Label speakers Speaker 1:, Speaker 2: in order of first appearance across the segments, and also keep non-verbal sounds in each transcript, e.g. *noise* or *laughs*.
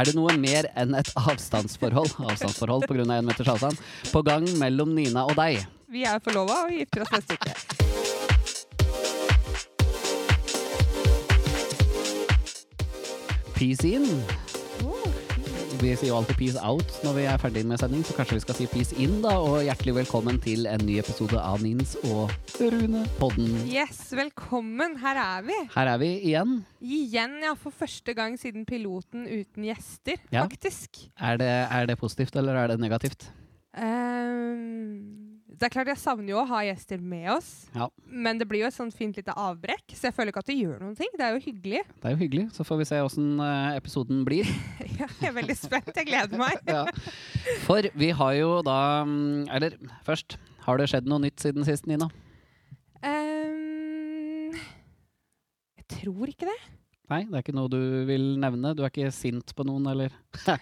Speaker 1: Er det noe mer enn et avstandsforhold avstandsforhold på grunn av en meters avstand på gang mellom Nina og deg?
Speaker 2: Vi er forlova og gifter oss neste uke.
Speaker 1: Peace in. Vi sier jo alltid peace out når vi er ferdig med sending, så kanskje vi skal si peace in, da. Og hjertelig velkommen til en ny episode av Nins og Rune podden.
Speaker 2: Yes, velkommen. Her er vi.
Speaker 1: Her er vi igjen.
Speaker 2: Igjen, ja. For første gang siden piloten uten gjester,
Speaker 1: Ja.
Speaker 2: faktisk.
Speaker 1: Er det, er det positivt, eller er det negativt?
Speaker 2: Ehm, det er klart jeg savner jo å ha gjester med oss,
Speaker 1: Ja.
Speaker 2: men det blir jo et sånt fint lite avbrekk. Så jeg føler ikke at det gjør noen ting. Det er jo hyggelig. *laughs*
Speaker 1: Det er jo hyggelig. Så får vi se åssen eh, episoden blir. *laughs*
Speaker 2: Ja, jeg er veldig spent. Jeg gleder meg.
Speaker 1: ja. For vi har jo da mm, Eller først, har det skjedd noe nytt siden sist, Nina?
Speaker 2: Ehm, jeg tror ikke det.
Speaker 1: Nei, det er ikke noe du vil nevne? Du er ikke sint på noen, eller?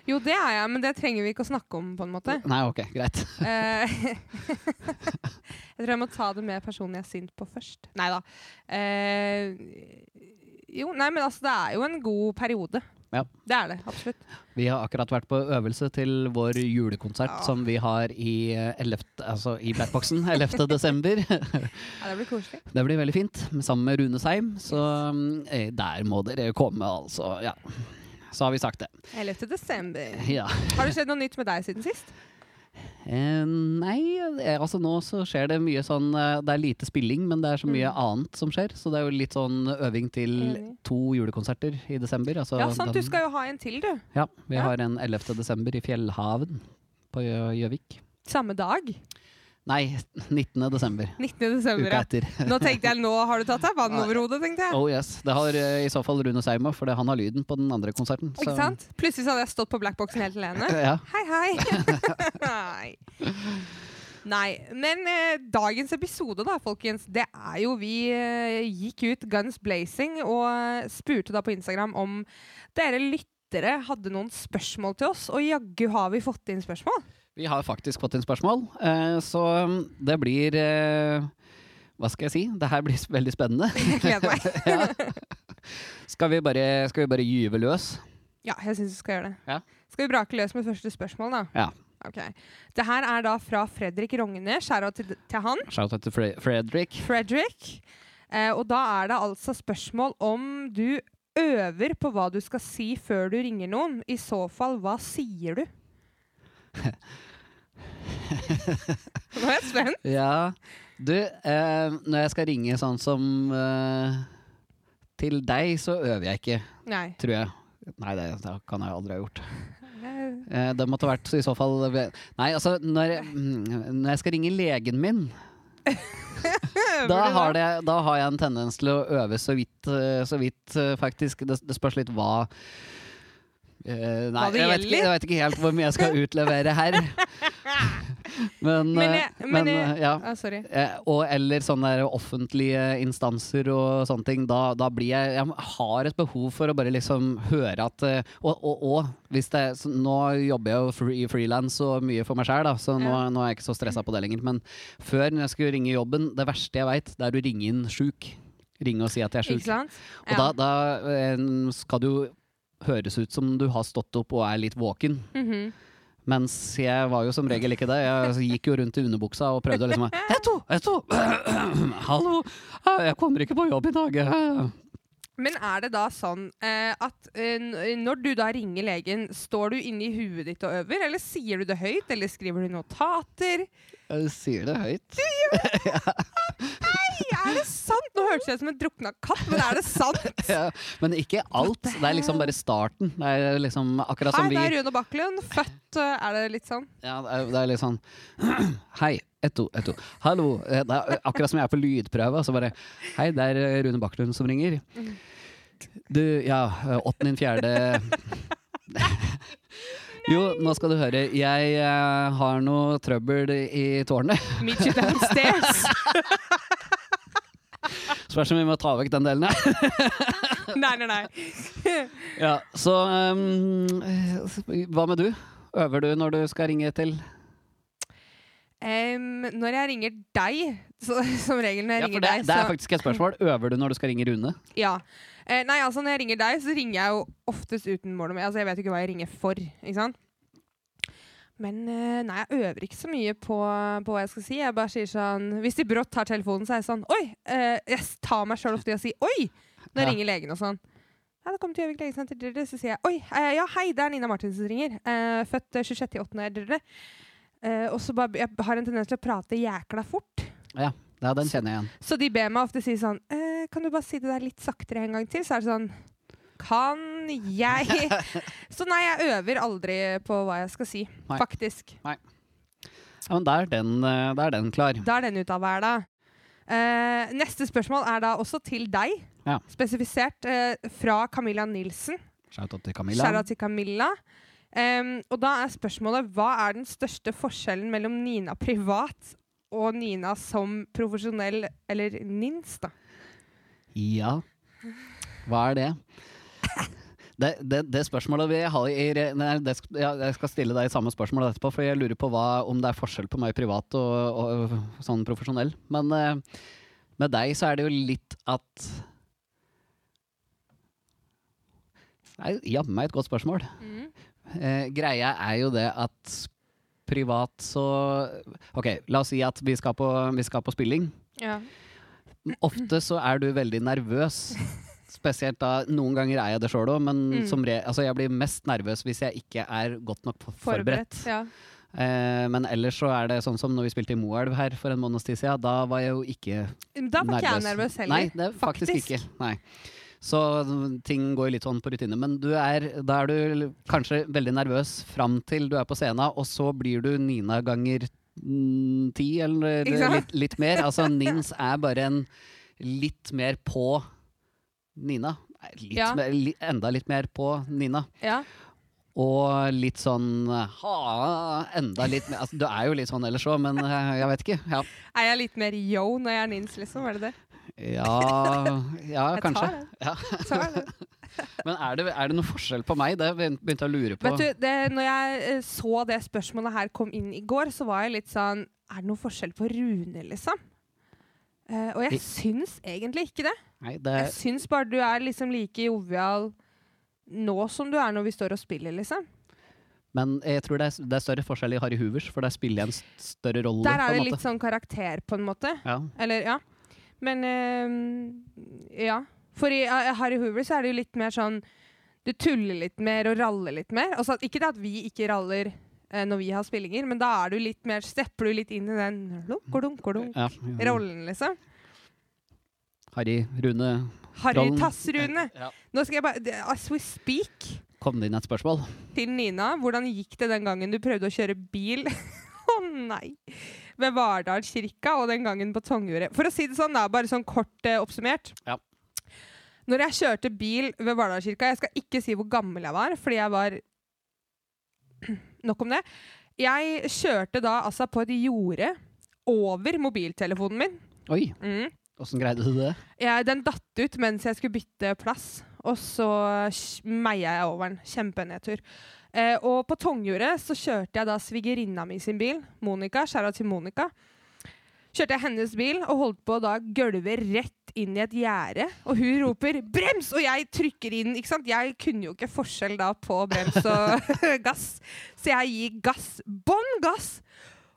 Speaker 2: Jo, det er jeg, men det trenger vi ikke å snakke om, på en måte.
Speaker 1: Nei, ok, greit.
Speaker 2: Eh, *laughs* jeg tror jeg må ta det med personen jeg er sint på først. Nei da. jo, nei, men altså, det er jo en god periode.
Speaker 1: Ja.
Speaker 2: Det er det, absolutt.
Speaker 1: Vi har akkurat vært på øvelse til vår julekonsert
Speaker 2: Ja.
Speaker 1: som vi har i, eh, 11, altså i Blackboxen *laughs* 11. desember.
Speaker 2: Ja, det blir koselig.
Speaker 1: Det blir veldig fint, sammen med Rune Seim. Så mm, eh, der må dere komme, altså. Ja. Så har vi sagt det.
Speaker 2: 11. desember.
Speaker 1: *laughs* Ja.
Speaker 2: Har det skjedd noe nytt med deg siden sist?
Speaker 1: Eh, nei, eh, altså nå så skjer det mye sånn eh, Det er lite spilling, men det er så mye annet som skjer. Så det er jo litt sånn øving til
Speaker 2: Mm. Enig.
Speaker 1: to julekonserter i desember. Altså
Speaker 2: Ja, sant,
Speaker 1: den-
Speaker 2: du skal jo ha en til, du.
Speaker 1: Ja, vi
Speaker 2: Ja.
Speaker 1: har en 11. desember i Fjellhaven på Gjø- Gjøvik.
Speaker 2: Samme dag.
Speaker 1: Nei, 19. desember.
Speaker 2: 19.
Speaker 1: Uka
Speaker 2: desember. ja.
Speaker 1: etter. *laughs*
Speaker 2: Nå tenkte jeg, nå har du tatt deg vann over hodet, tenkte jeg.
Speaker 1: Oh yes. Det har eh, i så fall Rune Seimo, for det- han har lyden på den andre konserten. så-
Speaker 2: Ikke sant? Plutselig så hadde jeg stått på blackboxen helt alene.
Speaker 1: *laughs* Ja.
Speaker 2: Hei, *laughs* hei. Nei. Nei, men eh, dagens episode da, folkens, det er jo vi eh, gikk ut guns blazing og eh, spurte da på Instagram om dere lyttere hadde noen spørsmål til oss, og jaggu har vi fått inn spørsmål. *laughs*
Speaker 1: Vi har faktisk fått inn spørsmål, eh, så mm, det blir eh, Hva skal jeg si? Det her blir *laughs* s- veldig spennende.
Speaker 2: *laughs* Jeg gleder meg.
Speaker 1: ja. skal, vi bare, skal vi bare gyve løs?
Speaker 2: Ja, jeg syns vi skal gjøre det.
Speaker 1: Ja.
Speaker 2: Skal vi brake løs med første spørsmål, da?
Speaker 1: Ja.
Speaker 2: Ok. Det her er da fra Fredrik Rogne. Skjæra til, til han.
Speaker 1: Shout-out til Fre Fredrik.
Speaker 2: Fredrik. Eh, og da er det altså spørsmål om du øver på hva du skal si før du ringer noen. I så fall, hva sier *laughs* du? Nå er jeg spent.
Speaker 1: Ja. Du, eh, når jeg skal ringe sånn som eh, til deg, så øver jeg ikke,
Speaker 2: Nei.
Speaker 1: tror jeg. Nei, det, det kan jeg aldri ha gjort.
Speaker 2: eh,
Speaker 1: Eh, det måtte vært så i så fall ved- Nei, altså, når jeg, mm, når jeg skal ringe legen min,
Speaker 2: Øver
Speaker 1: da
Speaker 2: du
Speaker 1: har, det, da har jeg en tendens til å øve så vidt, eh, så vidt eh, faktisk. Det, det spørs litt hva eh, nei,
Speaker 2: Hva det
Speaker 1: jeg vet, ikke,
Speaker 2: gjelder?
Speaker 1: jeg vet ikke helt hvor mye jeg skal utlevere
Speaker 2: *laughs*
Speaker 1: her. Men,
Speaker 2: Men
Speaker 1: eh,
Speaker 2: jeg- men
Speaker 1: men eh,
Speaker 2: jeg-
Speaker 1: ja.
Speaker 2: Ah, sorry.
Speaker 1: Eh, og eller sånne der offentlige instanser og sånne ting. Da, da blir jeg Jeg har et behov for å bare liksom høre at eh, Og, og, og hvis det så Nå jobber jeg jo fri, frilans og mye for meg sjæl, da, så nå,
Speaker 2: Ja.
Speaker 1: nå er jeg ikke så stressa på det lenger. Men før, når jeg skulle ringe jobben, det verste jeg veit, det er å ringe inn sjuk. Ringe og si at jeg er
Speaker 2: Ikke
Speaker 1: sjuk.
Speaker 2: sant?
Speaker 1: Og da, da eh, skal du høres ut som du har stått opp og er litt våken.
Speaker 2: Mhm.
Speaker 1: Mens jeg var jo som regel ikke det. Jeg gikk jo rundt i underbuksa og prøvde å liksom Eto, Eto, *clears throat* hallo, jeg kommer ikke på jobb i dag.
Speaker 2: Men er det da sånn eh, at eh, n- når du da ringer legen, står du inni huet ditt og øver? Eller sier du det høyt? Eller skriver du notater?
Speaker 1: Jeg sier det høyt.
Speaker 2: Er det sant? Nå hørtes jeg ut som en drukna katt, men er det
Speaker 1: *laughs*
Speaker 2: sant?
Speaker 1: Ja, men ikke alt. Det er liksom bare starten. Det er liksom akkurat som
Speaker 2: Hei,
Speaker 1: vi
Speaker 2: det
Speaker 1: ja,
Speaker 2: er Rune Bakklund. Født øh, Er det litt sånn?
Speaker 1: Det er- det er litt sånn *clears throat* Hei, Eto, Eto, hallo. Eh, Det er akkurat som jeg er på lydprøve, så bare Hei, det er eh, Rune Bakklund som ringer. Du, ja, eh, åttende, fjerde *laughs* Jo, nå skal du høre. Jeg eh, har noe trøbbel i tårnet.
Speaker 2: Meet
Speaker 1: *laughs*
Speaker 2: you downstairs.
Speaker 1: Spørs om vi må ta vekk den delen her.
Speaker 2: nei, nei, nei.
Speaker 1: Ja, så um, hva med du? Øver du når du skal ringe til?
Speaker 2: Em, når jeg ringer deg, så, som regel når jeg
Speaker 1: Ja, for
Speaker 2: ringer
Speaker 1: det,
Speaker 2: deg,
Speaker 1: det er
Speaker 2: så
Speaker 1: faktisk et spørsmål. Øver du når du skal ringe Rune?
Speaker 2: ja. Eh, nei, altså når jeg ringer deg, så ringer jeg jo oftest uten mål om Altså jeg vet jo ikke hva jeg ringer for, ikke sant? Men eh, nei, jeg øver ikke så mye på, på hva jeg skal si. Jeg bare sier sånn Hvis de brått tar telefonen, så er jeg sånn Oi! eh, jeg tar meg sjøl ofte i å si oi! Når jeg
Speaker 1: Ja.
Speaker 2: ringer legen og sånn. Ja, da kommer til Gjøvik legesenter, drr, drr, så sier jeg oi, eh, ja hei, det er Nina Martinsen som ringer. Eh, født eh, 26.8. drr, drr. Eh, og så bare, jeg har en tendens til å prate jækla fort.
Speaker 1: Ja, den kjenner jeg igjen.
Speaker 2: Så de ber meg ofte si sånn eh, Kan du bare si det der litt saktere en gang til? Så er det sånn Kan
Speaker 1: *laughs*
Speaker 2: jeg Så nei, jeg øver aldri på hva jeg skal si,
Speaker 1: Nei.
Speaker 2: faktisk.
Speaker 1: Ja, men da er den, eh, da er den klar.
Speaker 2: Da er den ute av hverdagen. Eh, neste spørsmål er da også til deg,
Speaker 1: Ja.
Speaker 2: spesifisert eh, fra Camilla Nilsen.
Speaker 1: Shout-out til Camilla.
Speaker 2: Kjære til Camilla. Em, og da er spørsmålet hva er den største forskjellen mellom Nina privat og Nina som profesjonell, eller NINS, da?
Speaker 1: Ja. Hva er det? Det, det, det spørsmålet vi har i re- nei, det, sk- ja, Jeg skal stille deg samme spørsmål etterpå, for jeg lurer på hva, om det er forskjell på meg privat og, og, sånn profesjonell. Men eh, med deg så er det jo litt at Det er jo jammen meg et godt spørsmål. Eh, greia er jo det at privat så Ok, la oss si at vi skal på, vi skal på spilling.
Speaker 2: Ja.
Speaker 1: Ofte så er du veldig nervøs. Spesielt da, Noen ganger er jeg det sjøl òg, men
Speaker 2: Mm.
Speaker 1: som re, altså jeg blir mest nervøs hvis jeg ikke er godt nok for- forberedt.
Speaker 2: Ja.
Speaker 1: Eh, men ellers så er det sånn som når vi spilte i Moelv her for en måneds tid siden. Da var jeg jo ikke
Speaker 2: Da var ikke jeg nervøs heller.
Speaker 1: Nei, det er faktisk, ikke. Nei. Så mm, ting går litt sånn på rutine. Men du er, da er du l- kanskje veldig nervøs fram til du er på scenen, og så blir du Nina ganger mm, ti, eller
Speaker 2: Ikke sant?
Speaker 1: litt, litt mer. Altså Nins er bare en litt mer på Nina. Nei, Litt
Speaker 2: Ja.
Speaker 1: mer, li, enda litt mer på Nina.
Speaker 2: Ja.
Speaker 1: Og litt sånn ha, enda litt mer altså, Du er jo litt sånn ellers òg, men eh, jeg vet ikke. Ja,
Speaker 2: Er jeg litt mer yo når jeg er nins, liksom? Er det det?
Speaker 1: ja, ja
Speaker 2: Jeg
Speaker 1: kanskje.
Speaker 2: tar det.
Speaker 1: Ja.
Speaker 2: Tar
Speaker 1: *laughs*
Speaker 2: det.
Speaker 1: Men er det, er det noe forskjell på meg? Det begynte jeg å lure på.
Speaker 2: Vet du, det, når jeg eh, så det spørsmålet her kom inn i går, så var jeg litt sånn Er det noen forskjell på Rune, liksom? Eh, og jeg syns egentlig ikke det.
Speaker 1: Nei, det,
Speaker 2: Jeg syns bare du er liksom like jovial nå som du er når vi står og spiller, liksom.
Speaker 1: men jeg tror det er, det er større forskjell i Harry Hoovers, for der spiller jeg en st- større rolle.
Speaker 2: Der
Speaker 1: på
Speaker 2: er
Speaker 1: en
Speaker 2: det
Speaker 1: måte.
Speaker 2: litt sånn karakter, på en måte.
Speaker 1: ja.
Speaker 2: Eller, ja. Men eh, Ja. For i eh, Harry Hoover så er det jo litt mer sånn Du tuller litt mer og raller litt mer. Altså, ikke det at vi ikke raller eh, når vi har spillinger, men da er du litt mer Stepper du litt inn i den lunkodunkodunk
Speaker 1: Ja.
Speaker 2: rollen, liksom.
Speaker 1: Harry Rune
Speaker 2: Harry
Speaker 1: Rollen.
Speaker 2: Tass-Rune.
Speaker 1: ja.
Speaker 2: Nå skal jeg bare det- As we speak
Speaker 1: Kom det inn et spørsmål?
Speaker 2: til Nina, hvordan gikk det den gangen du prøvde å kjøre bil? *laughs* Å nei! Ved Vardal kirka og den gangen på Tongjordet. For å si det sånn, da, bare sånn kort eh, oppsummert.
Speaker 1: Ja.
Speaker 2: Når jeg kjørte bil ved Vardal kirka Jeg skal ikke si hvor gammel jeg var, fordi jeg var *clears throat* Nok om det. Jeg kjørte da altså på et jorde over mobiltelefonen min.
Speaker 1: Oi,
Speaker 2: Mm.
Speaker 1: åssen greide du det?
Speaker 2: Jeg, den datt ut mens jeg skulle bytte plass, og så kj- meia jeg over den. Kjempenedtur. Eh, og på Tongjordet så kjørte jeg da svigerinna mi sin bil, Monica. Skjæra til Monica. Kjørte jeg hennes bil og holdt på å da gølve rett inn i et gjerde. Og hun roper 'brems!', og jeg trykker inn. ikke sant? Jeg kunne jo ikke forskjell da på brems og *laughs* gass, så jeg gir gass. Bånn gass!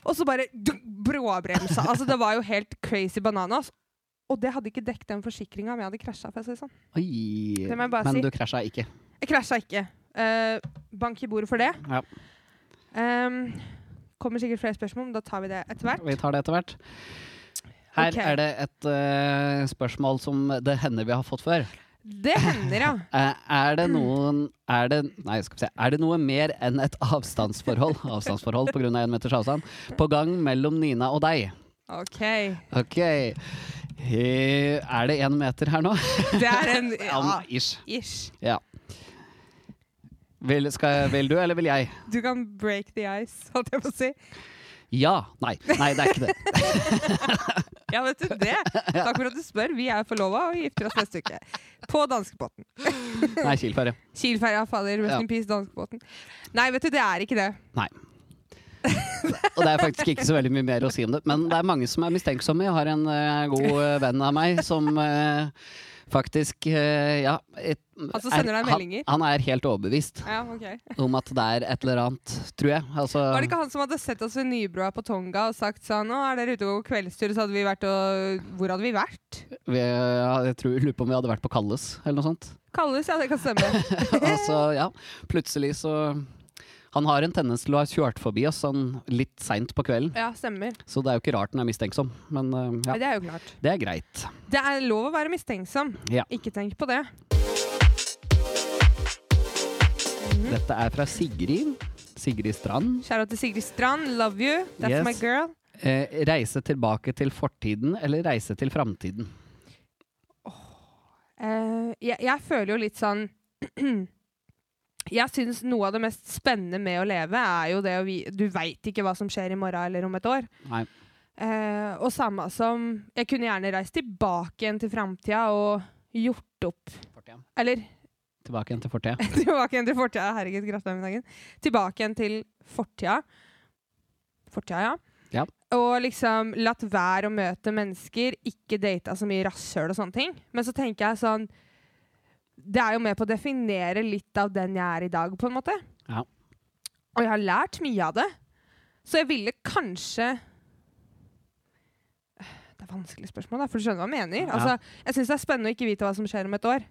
Speaker 2: Og så bare dunk, bråbremsa. Altså, det var jo helt crazy bananas. Og det hadde ikke dekket den forsikringa om jeg hadde krasja. for å si det sånn.
Speaker 1: Oi.
Speaker 2: Det må jeg bare
Speaker 1: men
Speaker 2: si.
Speaker 1: du krasja ikke.
Speaker 2: Jeg krasja ikke. Eh, bank i bordet for det.
Speaker 1: Ja.
Speaker 2: Ehm, kommer sikkert flere spørsmål, men da tar vi det etter hvert.
Speaker 1: Vi tar det etter hvert. Her
Speaker 2: Ok.
Speaker 1: er det et eh, spørsmål som det hender vi har fått før.
Speaker 2: Det hender, ja.
Speaker 1: Eh, er det noen er det, Nei, skal vi se. Er det noe mer enn et avstandsforhold *laughs* Avstandsforhold på grunn av én meters avstand på gang mellom Nina og deg?
Speaker 2: OK.
Speaker 1: Ok. Eh, Er det én meter her nå?
Speaker 2: Det er en *laughs* ja,
Speaker 1: Ja, ish.
Speaker 2: ish.
Speaker 1: Ja. Vil, skal, vil du, eller vil jeg?
Speaker 2: Du kan break the ice, holdt jeg på å si.
Speaker 1: Ja. Nei, nei det er ikke det.
Speaker 2: Ja, vet du det? Takk for at du spør. Vi er forlova og gifter oss neste uke. På danskebåten.
Speaker 1: Nei, Kilføre.
Speaker 2: Kielferja faller, rest
Speaker 1: Ja.
Speaker 2: in peace, danskebåten. Nei, vet du, det er ikke det.
Speaker 1: Og det er faktisk ikke så veldig mye mer å si om det. Men det er mange som er mistenksomme. Jeg har en eh, god eh, venn av meg som eh, faktisk eh, Ja. et-
Speaker 2: Han som sender
Speaker 1: er-
Speaker 2: deg meldinger?
Speaker 1: Han, han er helt overbevist
Speaker 2: Ja, ok.
Speaker 1: om at det er et eller annet, tror jeg. Altså,
Speaker 2: Var det ikke han som hadde sett oss ved Nybrua på Tonga og sagt sånn 'Å, er dere ute og går kveldstur?' Så hadde vi vært og Hvor hadde vi vært?
Speaker 1: vi, ja, jeg tror, lurer på om vi hadde vært på Kalles eller noe
Speaker 2: *laughs*
Speaker 1: sånt.
Speaker 2: Kalles, ja, det kan stemme.
Speaker 1: Og så, ja, plutselig så Han har en tendens til å ha kjørt forbi oss sånn litt seint på kvelden,
Speaker 2: *laughs* Ja, stemmer.
Speaker 1: så det er jo ikke rart den er mistenksom. Men eh,
Speaker 2: Men
Speaker 1: ja,
Speaker 2: det er jo klart.
Speaker 1: det er greit.
Speaker 2: Det er lov å være mistenksom.
Speaker 1: Ja.
Speaker 2: Ikke tenk på det.
Speaker 1: Dette er fra Sigrid. Sigrid Strand.
Speaker 2: Kjære til Sigrid Strand, love you. That's
Speaker 1: Yes.
Speaker 2: my girl.
Speaker 1: Eh, reise tilbake til fortiden eller reise til framtiden?
Speaker 2: Eh, jeg, jeg føler jo litt sånn *clears throat* Jeg syns noe av det mest spennende med å leve er jo det å vi Du veit ikke hva som skjer i morgen eller om et år.
Speaker 1: Nei.
Speaker 2: Eh, og samme som Jeg kunne gjerne reist tilbake igjen til framtida og gjort opp
Speaker 1: Fortiden.
Speaker 2: Eller *laughs*
Speaker 1: Tilbake igjen til fortida.
Speaker 2: tilbake igjen til fortida. Herregud, gratulerer med dagen. Tilbake igjen til fortida. Fortida, ja.
Speaker 1: Ja.
Speaker 2: Og liksom latt være å møte mennesker, ikke data så mye rasshøl og sånne ting. Men så tenker jeg sånn Det er jo med på å definere litt av den jeg er i dag, på en måte.
Speaker 1: Ja.
Speaker 2: Og jeg har lært mye av det. Så jeg ville kanskje Det er vanskelig spørsmål, da, for du skjønner hva jeg mener.
Speaker 1: Ja.
Speaker 2: Altså, jeg syns det er spennende å ikke vite hva som skjer om et år.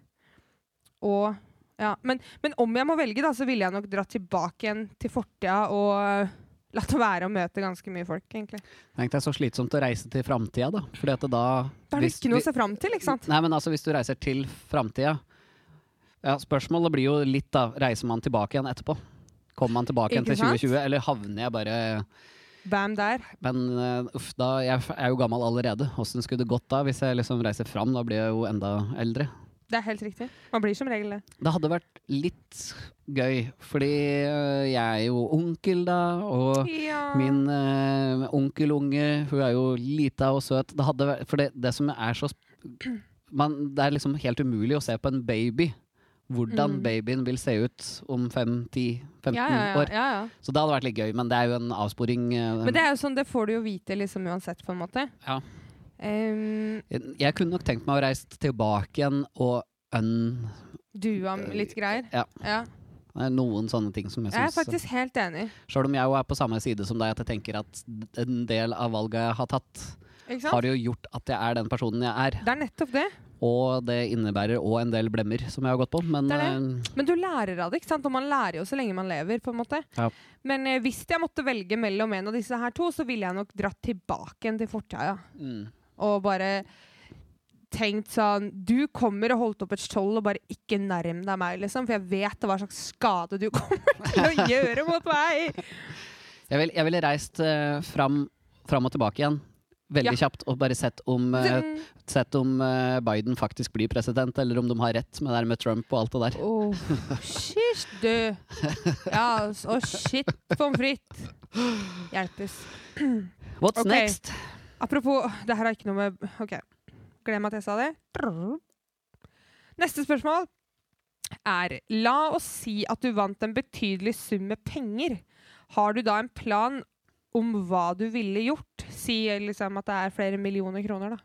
Speaker 2: Og ja, men, men om jeg må velge, da, så ville jeg nok dratt tilbake igjen til fortida og latt *laughs* være å møte ganske mye folk, egentlig.
Speaker 1: Tenk deg så slitsomt å reise til framtida, da. Fordi at da
Speaker 2: Da er det
Speaker 1: hvis
Speaker 2: ikke noe
Speaker 1: vi-
Speaker 2: å se fram til, ikke sant?
Speaker 1: Nei, men altså, hvis du reiser til framtida ja, Spørsmålet blir jo litt, da. Reiser man tilbake igjen etterpå? Kommer man tilbake igjen
Speaker 2: Ikke
Speaker 1: til
Speaker 2: sant?
Speaker 1: 2020, eller havner jeg bare
Speaker 2: Bam der.
Speaker 1: Men eh, uff, da, jeg f- er jo gammel allerede. Åssen skulle det gått da, hvis jeg liksom reiser fram? Da blir jeg jo enda eldre.
Speaker 2: Det er helt riktig. Man blir som regel det.
Speaker 1: Det hadde vært litt gøy, fordi eh, jeg er jo onkel da, og
Speaker 2: Ja.
Speaker 1: min eh, onkelunge, hun er jo lita og søt. Det hadde vært, for det, det som er så sp- man, Det er liksom helt umulig å se på en baby. Hvordan
Speaker 2: Mm.
Speaker 1: babyen vil se ut om 5-10-15
Speaker 2: ja, ja, ja,
Speaker 1: år.
Speaker 2: ja, ja.
Speaker 1: Så det hadde vært litt gøy, men det er jo en avsporing. eh,
Speaker 2: Men det er jo sånn, det får du jo vite liksom uansett, på en måte.
Speaker 1: Ja.
Speaker 2: Ehm,
Speaker 1: Jeg kunne nok tenkt meg å reise tilbake igjen og un...
Speaker 2: du har litt greier.
Speaker 1: Eh, Ja.
Speaker 2: ja.
Speaker 1: Det er eh, noen sånne ting som jeg
Speaker 2: Jeg er
Speaker 1: syns
Speaker 2: faktisk helt enig.
Speaker 1: Sjøl om jeg jo er på samme side som deg, at jeg tenker at en del av valga jeg har tatt,
Speaker 2: Ikke sant?
Speaker 1: har jo gjort at jeg er den personen jeg er.
Speaker 2: Det er nettopp det.
Speaker 1: Og det innebærer òg en del blemmer som jeg har gått på, men
Speaker 2: Det er
Speaker 1: eh,
Speaker 2: Men du lærer av det, ikke sant? og man lærer jo så lenge man lever. på en måte.
Speaker 1: Ja.
Speaker 2: Men eh, hvis jeg måtte velge mellom en av disse her to, så ville jeg nok dratt tilbake igjen til fortida. ja.
Speaker 1: mm,
Speaker 2: Og bare tenkt sånn Du kommer og holdt opp et skjold og bare ikke nærm deg meg, liksom. For jeg vet hva slags skade du *laughs* kommer til å gjøre mot meg.
Speaker 1: Jeg ville jeg ville reist eh, fram, fram og tilbake igjen. Veldig kjapt, og bare sett om, eh,
Speaker 2: Sånn,
Speaker 1: sett om eh, Biden faktisk blir president, eller om de har rett med det der med Trump og alt det der.
Speaker 2: Sånn, Åh, shit, du. Ja, s- og shit, pommes frites. Hjelpes.
Speaker 1: What's
Speaker 2: Ok.
Speaker 1: next?
Speaker 2: Apropos Det her har ikke noe med OK. Glem at jeg sa det. Neste spørsmål er La oss si at du vant en betydelig sum med penger. Har du da en plan om hva du ville gjort? Si liksom at det er flere millioner kroner, da.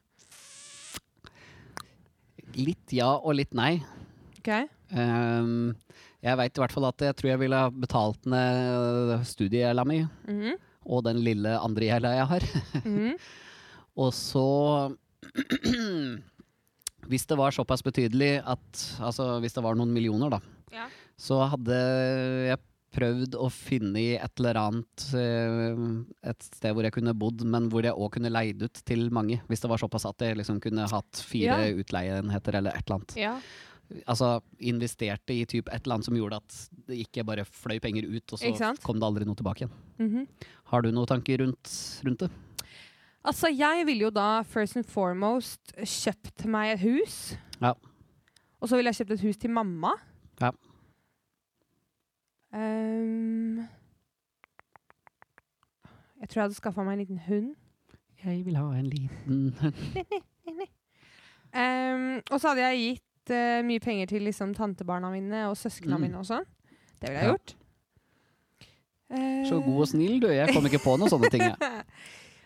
Speaker 1: Litt ja og litt nei.
Speaker 2: OK?
Speaker 1: Ehm, jeg veit i hvert fall at jeg tror jeg ville ha betalt ned øh, studiegjelda mi
Speaker 2: Mhm,
Speaker 1: og den lille andre gjelda jeg har.
Speaker 2: mhm.
Speaker 1: Og så *clears throat* Hvis det var såpass betydelig at Altså hvis det var noen millioner, da,
Speaker 2: *laughs* Ja.
Speaker 1: så hadde jeg prøvd å finne et eller annet eh, Et sted hvor jeg kunne bodd, men hvor jeg òg kunne leid ut til mange. Hvis det var såpass at jeg liksom kunne hatt fire
Speaker 2: Ja.
Speaker 1: utleieenheter eller et eller annet.
Speaker 2: ja.
Speaker 1: altså, investerte i typ et eller annet som gjorde at det ikke bare fløy penger ut, og
Speaker 2: Ikke
Speaker 1: så
Speaker 2: sant?
Speaker 1: kom det aldri noe tilbake igjen.
Speaker 2: mhm.
Speaker 1: Har du noen tanker rundt, rundt det?
Speaker 2: Altså, jeg ville jo da first and foremost kjøpt meg et hus.
Speaker 1: Ja.
Speaker 2: Og så ville jeg kjøpt et hus til mamma.
Speaker 1: Ja.
Speaker 2: Ehm, jeg tror jeg hadde skaffa meg en liten hund.
Speaker 1: Jeg vil ha en *laughs* liten
Speaker 2: Ehm, og så hadde jeg gitt eh, mye penger til liksom, tantebarna mine og søsknene
Speaker 1: Mm.
Speaker 2: mine og sånn. Det ville jeg
Speaker 1: Ja.
Speaker 2: gjort. Ehm,
Speaker 1: Så god og snill, du. Jeg kom ikke på noen sånne ting. jeg.
Speaker 2: *laughs*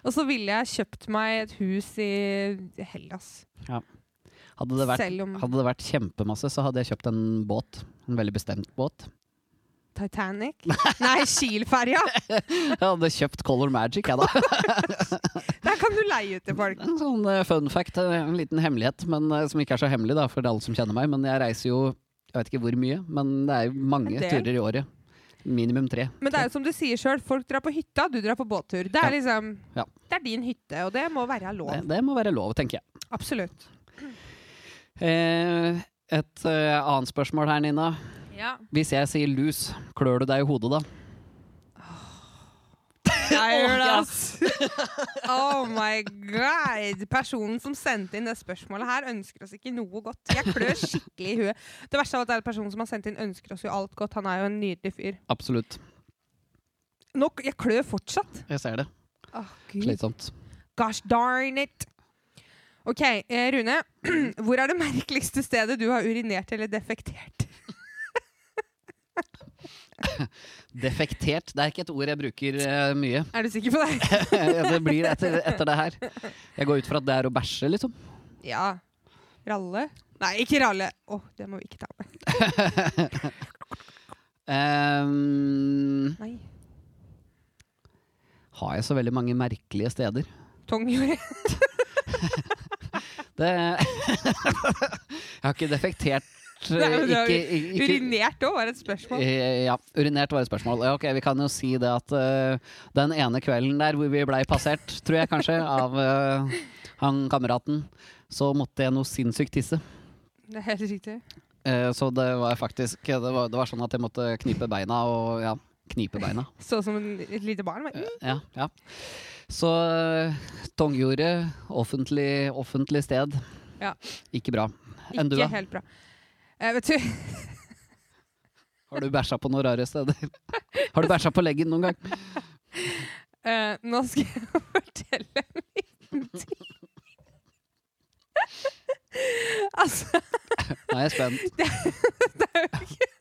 Speaker 2: og så ville jeg kjøpt meg et hus i Hellas.
Speaker 1: Hadde det, vært,
Speaker 2: Selv om
Speaker 1: hadde det vært kjempemasse, så hadde jeg kjøpt en båt. En veldig bestemt båt. *laughs*
Speaker 2: Titanic Nei, Kiel-ferja!
Speaker 1: Jeg hadde kjøpt Color Magic, jeg da.
Speaker 2: Der kan du leie ut til folk.
Speaker 1: En *laughs* sånn eh, fun fact, eh, en liten hemmelighet, men, eh, som ikke er så hemmelig da, for alle som kjenner meg. Men jeg reiser jo, jeg vet ikke hvor mye, men det er jo mange
Speaker 2: En del.
Speaker 1: turer i året. Minimum tre.
Speaker 2: Men det er jo som du sier sjøl, folk drar på hytta, du drar på båttur. Det er liksom
Speaker 1: Ja.
Speaker 2: Det er din hytte, og det må være lov.
Speaker 1: Det, det må være lov, tenker jeg.
Speaker 2: Absolutt.
Speaker 1: Eh, et eh, annet spørsmål her, Nina.
Speaker 2: Ja.
Speaker 1: Hvis jeg sier lus, klør du deg i hodet da?
Speaker 2: Jeg gjør det,
Speaker 1: Ja.
Speaker 2: ass. *laughs* Oh my god! Personen som sendte inn det spørsmålet her, ønsker oss ikke noe godt. Jeg klør skikkelig i huet. Det verste av alt er at personen som har sendt inn, ønsker oss jo alt godt. Han er jo en nydelig fyr.
Speaker 1: Absolutt.
Speaker 2: Nå, k- jeg klør fortsatt.
Speaker 1: Jeg ser det.
Speaker 2: Åh, Gud.
Speaker 1: Slitsomt.
Speaker 2: Gosh darn it! OK, eh, Rune. *clears throat* Hvor er det merkeligste stedet du har urinert eller defektert?
Speaker 1: Defektert. Det er ikke et ord jeg bruker eh, mye.
Speaker 2: Er du sikker på det?
Speaker 1: *laughs* det blir etter, etter det her. Jeg går ut fra at det er å bæsje, liksom.
Speaker 2: Ja. Ralle? Nei, ikke ralle. Å, det må vi ikke ta med.
Speaker 1: Ehm,
Speaker 2: Nei.
Speaker 1: har jeg så veldig mange merkelige steder?
Speaker 2: Tong gjorde
Speaker 1: Det *laughs* Jeg har ikke defektert
Speaker 2: *laughs* Nei, men du har
Speaker 1: ikke- *laughs* ikke- ikke-
Speaker 2: Urinert òg var et spørsmål.
Speaker 1: Eh, Ja, urinert var et spørsmål. Ja, Ok, Vi kan jo si det at eh, den ene kvelden der hvor vi blei passert, tror jeg
Speaker 2: *laughs*
Speaker 1: kanskje, av eh, han kameraten, så måtte jeg noe sinnssykt tisse.
Speaker 2: Det er helt riktig.
Speaker 1: Eh, så det var faktisk det var, det var sånn at jeg måtte knipe beina og ja, knipe beina.
Speaker 2: Så som en, et lite barn. Men,
Speaker 1: Ja, ja. Så eh, Tongjordet, offentlig, offentlig sted.
Speaker 2: Ja.
Speaker 1: Ikke bra. Enn du,
Speaker 2: ikke
Speaker 1: da?
Speaker 2: helt bra. Eh, vet du,
Speaker 1: Har du bæsja på noen rare steder? *laughs* Har du bæsja på leggen noen gang?
Speaker 2: eh, nå skal jeg *laughs* fortelle en liten ting. *laughs* altså,
Speaker 1: Nå er jeg spent.
Speaker 2: det er jo ikke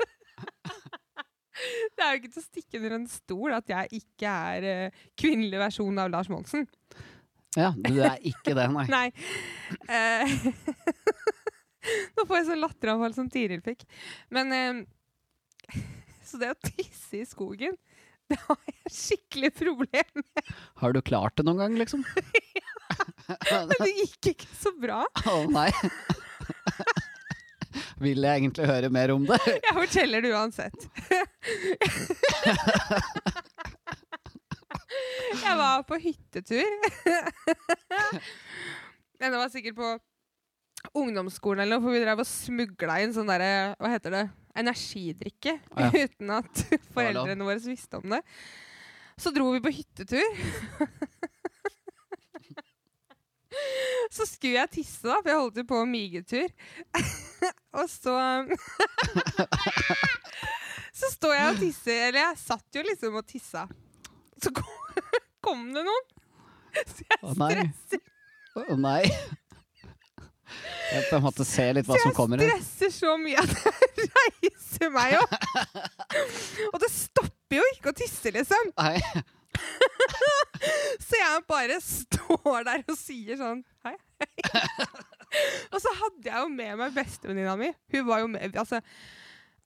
Speaker 2: Det er jo ikke til å stikke under en stol at jeg ikke er eh, kvinnelig versjon av Lars Monsen.
Speaker 1: Ja, du er ikke det, nei.
Speaker 2: *laughs* Nei. Eh, *laughs* Nå får jeg sånn latteravfall som Tiril fikk. Men eh, *laughs* Så det å tisse i skogen, *laughs* det har jeg skikkelig problem med.
Speaker 1: Har du klart det noen gang, liksom?
Speaker 2: Det gikk ikke så bra.
Speaker 1: Å nei. *laughs* Vil jeg egentlig høre mer om det?
Speaker 2: Jeg forteller det uansett. Jeg var på hyttetur. Men det var sikkert på ungdomsskolen eller noe, for vi drev og smugla inn sånn derre Hva heter det? Energidrikke.
Speaker 1: Å, ja.
Speaker 2: Uten at foreldrene våre visste om det. Så dro vi på hyttetur. Så skulle jeg tisse, da, for jeg holdt jo på med migetur. Og så Så står jeg og tisser, eller jeg satt jo liksom og tissa. Så kom, *laughs* kom det noen. Så jeg
Speaker 1: Å, nei.
Speaker 2: stresser,
Speaker 1: Å nei. Jeg på en måte ser litt
Speaker 2: så,
Speaker 1: hva som
Speaker 2: jeg
Speaker 1: kommer her.
Speaker 2: stresser så mye at jeg *laughs* reiser meg opp.
Speaker 1: *laughs*
Speaker 2: Og det stopper jo ikke å tisse, liksom.
Speaker 1: Nei.
Speaker 2: Så jeg bare står der og sier sånn hei, *laughs* hei. Og så hadde jeg jo med meg bestevenninna mi. Hun var jo med altså,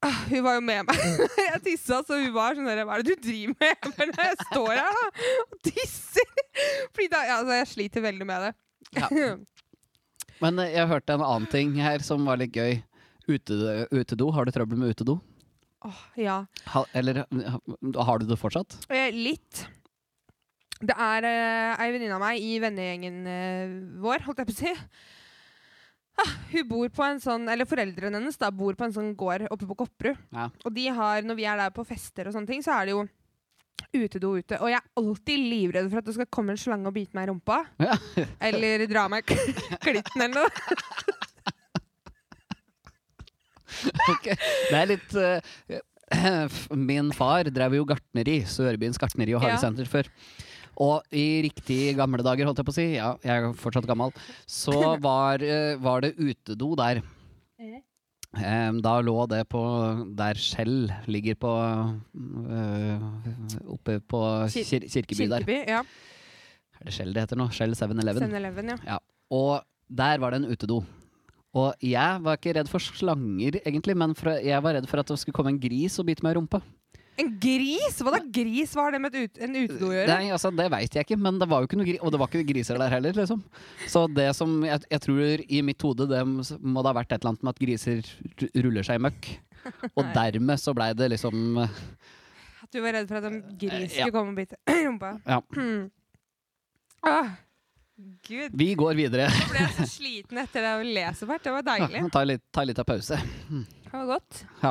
Speaker 2: ah, hun var jo med meg *laughs* når jeg tissa, så hun var sånn der Hva er det du driver med? Jeg bare, «Nei, jeg står her da, og tisser. *laughs* Fordi da, ja, altså, jeg sliter veldig med det.
Speaker 1: Ja. *laughs* Men eh, jeg hørte en annen ting her som var litt gøy. Utedo. utedo. Har du trøbbel med utedo?
Speaker 2: Åh, ja.
Speaker 1: Ha, eller ha- har du det fortsatt?
Speaker 2: Eh, litt. Det er eh, ei venninne av meg i vennegjengen eh, vår, holdt jeg på å si. Ah, hun bor på en sånn, eller Foreldrene hennes da, bor på en sånn gård oppe på Kopperud.
Speaker 1: Ja.
Speaker 2: Og de har, når vi er der på fester, og sånne ting, så er det jo utedo ute. Og jeg er alltid livredd for at det skal komme en slange og bite meg i rumpa.
Speaker 1: Ja.
Speaker 2: Eller dra meg
Speaker 1: *laughs*
Speaker 2: k- klitten eller noe.
Speaker 1: Ok. Det er litt eh, *clears throat* Min far drev jo gartneri, Sørbyens gartneri og
Speaker 2: Ja.
Speaker 1: hagesenter før. Og i riktig gamle dager, holdt jeg på å si, ja, jeg er fortsatt gammel, så
Speaker 2: *laughs*
Speaker 1: var, eh, var det utedo der. Eh, da lå det på der Skjell ligger på eh, Oppe på
Speaker 2: Kir-
Speaker 1: kir Kirkeby der.
Speaker 2: Kirkeby. Ja.
Speaker 1: Er det Skjell det heter nå? Skjell 7-Eleven.
Speaker 2: 7-Eleven, ja.
Speaker 1: Og der var det en utedo. Og jeg var ikke redd for slanger, egentlig, men for, jeg var redd for at det skulle komme en gris og bite meg i rumpa.
Speaker 2: En gris? Hva da gris? Hva har det med et ut, en utedo å gjøre?
Speaker 1: Nei, altså, det veit jeg ikke, men det var jo ikke noe gri og det var ikke griser der heller. liksom. Så det som jeg, jeg tror i mitt hode det må det ha vært et eller annet med at griser r- ruller seg i møkk. Og dermed så blei det liksom eh,
Speaker 2: At du var redd for at en gris
Speaker 1: Ja.
Speaker 2: skulle komme og bite *clears throat* i rumpa? Ah.
Speaker 1: Ja.
Speaker 2: Hmm. Åh, Gud,
Speaker 1: Vi går videre.
Speaker 2: nå ble jeg så sliten etter det å lese hvert. Det var deilig.
Speaker 1: *laughs* Ta litt, ta litt av pause.
Speaker 2: Det var godt.
Speaker 1: Ja.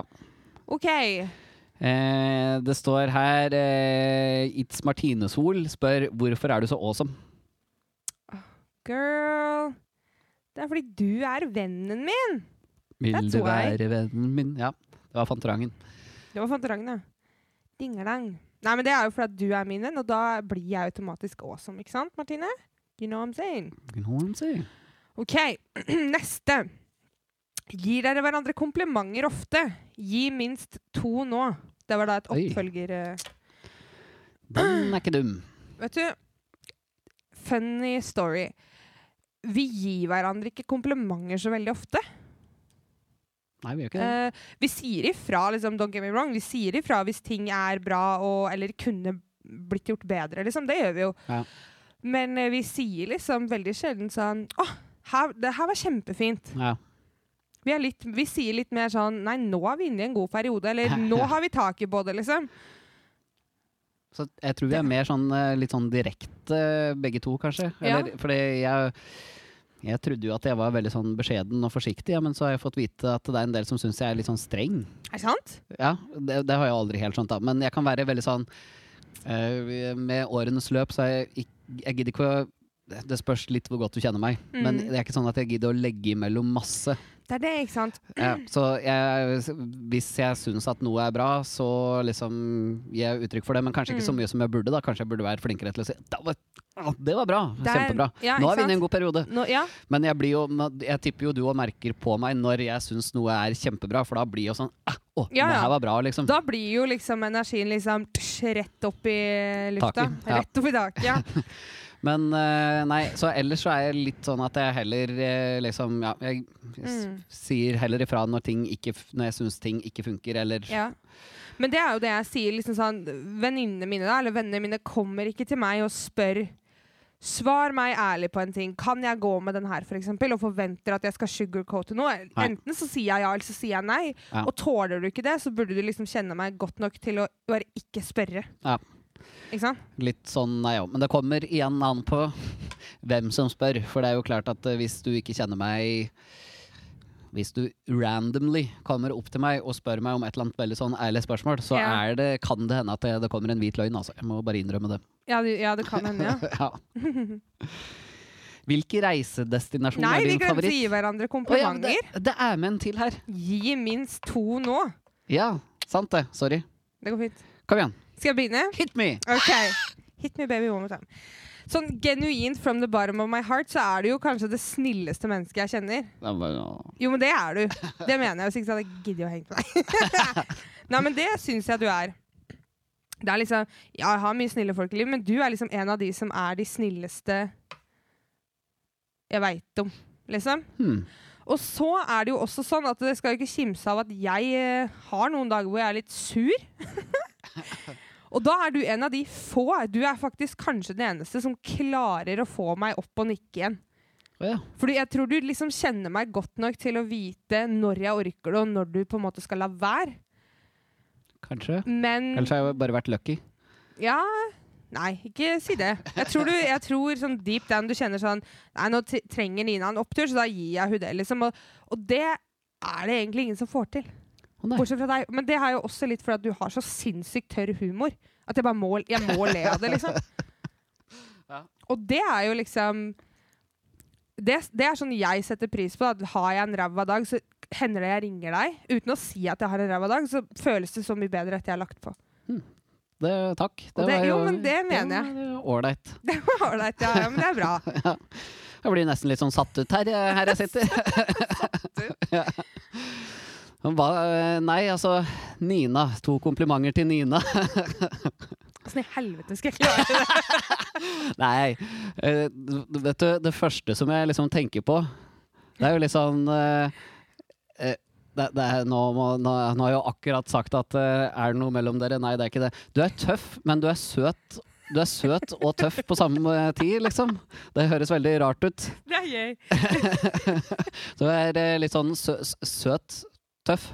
Speaker 2: OK.
Speaker 1: Eh, det står her eh, It's Martinesol spør hvorfor er du så awesome.
Speaker 2: Girl. Det er fordi du er vennen min.
Speaker 1: Vil
Speaker 2: That's
Speaker 1: du
Speaker 2: why.
Speaker 1: være vennen min? Ja, det var Fantorangen.
Speaker 2: Det var Fantorangen, ja. Dingelang. Nei, men det er jo fordi at du er min venn, og da blir jeg automatisk awesome, ikke sant, Martine? You know what I'm saying?
Speaker 1: You know what I'm saying?
Speaker 2: OK, *clears throat* neste. Gir dere hverandre komplimenter ofte? Gi minst to nå. Det var da et
Speaker 1: Oi.
Speaker 2: oppfølger... eh,
Speaker 1: Den er ikke dum.
Speaker 2: Vet du, funny story. Vi gir hverandre ikke komplimenter så veldig ofte.
Speaker 1: Nei, vi gjør ikke det.
Speaker 2: Eh, vi sier ifra, liksom, don't get me wrong, vi sier ifra hvis ting er bra og, eller kunne blitt gjort bedre. Liksom. Det gjør vi jo.
Speaker 1: Ja.
Speaker 2: Men eh, vi sier liksom veldig sjelden sånn Å, her, det her var kjempefint.
Speaker 1: Ja.
Speaker 2: Vi, er litt, vi sier litt mer sånn Nei, nå er vi inne i en god periode. Eller nå har vi tak i både, liksom.
Speaker 1: Så jeg tror vi er mer sånn eh, litt sånn direkte, begge to, kanskje. Eller, Fordi jeg, jeg trodde jo at jeg var veldig sånn beskjeden og forsiktig, ja, men så har jeg fått vite at det er en del som syns jeg er litt sånn streng.
Speaker 2: Er det sant?
Speaker 1: Ja, det, det har jeg aldri helt skjønt, da. Men jeg kan være veldig sånn eh, Med årenes løp så er jeg ikk- Jeg gidder ikke å det spørs litt hvor godt du kjenner meg, men
Speaker 2: Mm.
Speaker 1: det er ikke sånn at jeg gidder å legge imellom masse.
Speaker 2: Det er det, ikke sant?
Speaker 1: Ja, så jeg, hvis jeg syns at noe er bra, så liksom gir jeg uttrykk for det. Men kanskje ikke så
Speaker 2: Mm.
Speaker 1: mye som jeg burde. da Kanskje jeg burde være flinkere til å si det var, ah, det var bra!
Speaker 2: Det er-
Speaker 1: Kjempebra!
Speaker 2: ja,
Speaker 1: Nå
Speaker 2: ikke
Speaker 1: er vi inne i
Speaker 2: sant?
Speaker 1: en god periode.
Speaker 2: Nå, ja,
Speaker 1: Men jeg, blir jo, jeg tipper jo du og merker på meg når jeg syns noe er kjempebra, for da blir jo sånn ah, Å,
Speaker 2: Ja,
Speaker 1: det
Speaker 2: ja.
Speaker 1: her var bra, liksom.
Speaker 2: Da blir jo liksom energien liksom tsk, rett opp i lufta.
Speaker 1: Taket, ja.
Speaker 2: Rett opp i taket, ja.
Speaker 1: Men eh, nei, så ellers så er jeg litt sånn at jeg heller eh, liksom Ja, jeg s-
Speaker 2: Mm.
Speaker 1: sier heller ifra når, ting ikke, f- når jeg syns ting ikke funker, eller
Speaker 2: ja. Men det er jo det jeg sier. liksom sånn, Venninnene mine da, eller vennene mine kommer ikke til meg og spør Svar meg ærlig på en ting. Kan jeg gå med den her, for eksempel, og forventer at jeg skal sugarcoate noe?
Speaker 1: Nei.
Speaker 2: Enten så sier jeg ja, eller så sier jeg nei.
Speaker 1: Ja.
Speaker 2: Og tåler du ikke det, så burde du liksom kjenne meg godt nok til å bare ikke spørre.
Speaker 1: Ja.
Speaker 2: Ikke sant?
Speaker 1: Litt sånn er jeg òg. Men det kommer igjen an på *laughs* hvem som spør. For det er jo klart at eh, hvis du ikke kjenner meg Hvis du randomly kommer opp til meg og spør meg om et eller annet veldig sånn ærlig spørsmål, så
Speaker 2: Ja.
Speaker 1: er det, kan det hende at det, det kommer en hvit løgn. Altså. Jeg må bare innrømme
Speaker 2: *laughs*
Speaker 1: det.
Speaker 2: Ja, det, ja, det kan
Speaker 1: *laughs*
Speaker 2: hende, ja.
Speaker 1: ja. Hvilke reisedestinasjoner
Speaker 2: Nei,
Speaker 1: er
Speaker 2: vi
Speaker 1: din
Speaker 2: glemte å
Speaker 1: favoritt?
Speaker 2: gi
Speaker 1: Å
Speaker 2: hverandre
Speaker 1: ja,
Speaker 2: komplimenter.
Speaker 1: det, det er med en til her.
Speaker 2: Gi minst to nå.
Speaker 1: Ja, sant det. Sorry.
Speaker 2: Det går fint.
Speaker 1: Kom igjen.
Speaker 2: Skal jeg begynne?
Speaker 1: Hit me!
Speaker 2: Ok. Hit me baby one more time. Sånn genuint from the bottom of my heart, så er du jo kanskje det snilleste mennesket jeg kjenner.
Speaker 1: Det er bare-
Speaker 2: Jo, men det er du. Det mener jeg, hvis ikke så hadde jeg giddet å henge med deg. *laughs* Nei, men det syns jeg du er. Det er liksom, ja, Jeg har mye snille folk i livet, men du er liksom en av de som er de snilleste jeg veit om, liksom.
Speaker 1: Hmm.
Speaker 2: Og så er det jo også sånn at det skal jo ikke kimse av at jeg eh, har noen dager hvor jeg er litt sur. *laughs* og da er du en av de få. Du er faktisk kanskje den eneste som klarer å få meg opp og nikke igjen.
Speaker 1: Å ja.
Speaker 2: Fordi jeg tror du liksom kjenner meg godt nok til å vite når jeg orker det, og når du på en måte skal la være.
Speaker 1: Kanskje.
Speaker 2: Men
Speaker 1: Ellers har jeg bare vært lucky.
Speaker 2: Ja Nei, ikke si det. Jeg tror, du, jeg tror sånn deep down du kjenner sånn Nei, nå t- trenger Nina en opptur, så da gir jeg hun det, liksom. Og, og det er det egentlig ingen som får til.
Speaker 1: Å nei.
Speaker 2: Bortsett fra deg. Men det er jo også litt fordi at du har så sinnssykt tørr humor. At jeg bare må, jeg må le av det, liksom.
Speaker 1: Ja.
Speaker 2: Og det er jo liksom det, det er sånn jeg setter pris på. At har jeg en ræva dag, så hender det jeg ringer deg. Uten å si at jeg har en ræva dag, så føles det så mye bedre etter jeg har lagt på. *laughs*
Speaker 1: Det, takk.
Speaker 2: Og det- jo, men det mener jeg.
Speaker 1: det var Ålreit.
Speaker 2: Det var ålreit, ja, ja, men det er bra.
Speaker 1: Jeg blir nesten litt sånn satt ut her, eh, her jeg
Speaker 2: *laughs*
Speaker 1: sitter. *laughs* Ja. Hva, eh, nei, altså Nina. To komplimenter til Nina. *laughs*
Speaker 2: Åssen i helvete skal jeg klare det?
Speaker 1: Nei, eh, vet du, det første som jeg liksom tenker på Det er jo litt sånn eh, eh, det, det er, nå, må, nå, nå har jeg jo akkurat sagt at eh, er det noe mellom dere? Nei, det er ikke det. Du er tøff, men du er søt. Du er søt og tøff på samme tid, liksom. Det høres veldig rart ut.
Speaker 2: Det er gøy.
Speaker 1: Du er eh, litt sånn sø s- søt, tøff.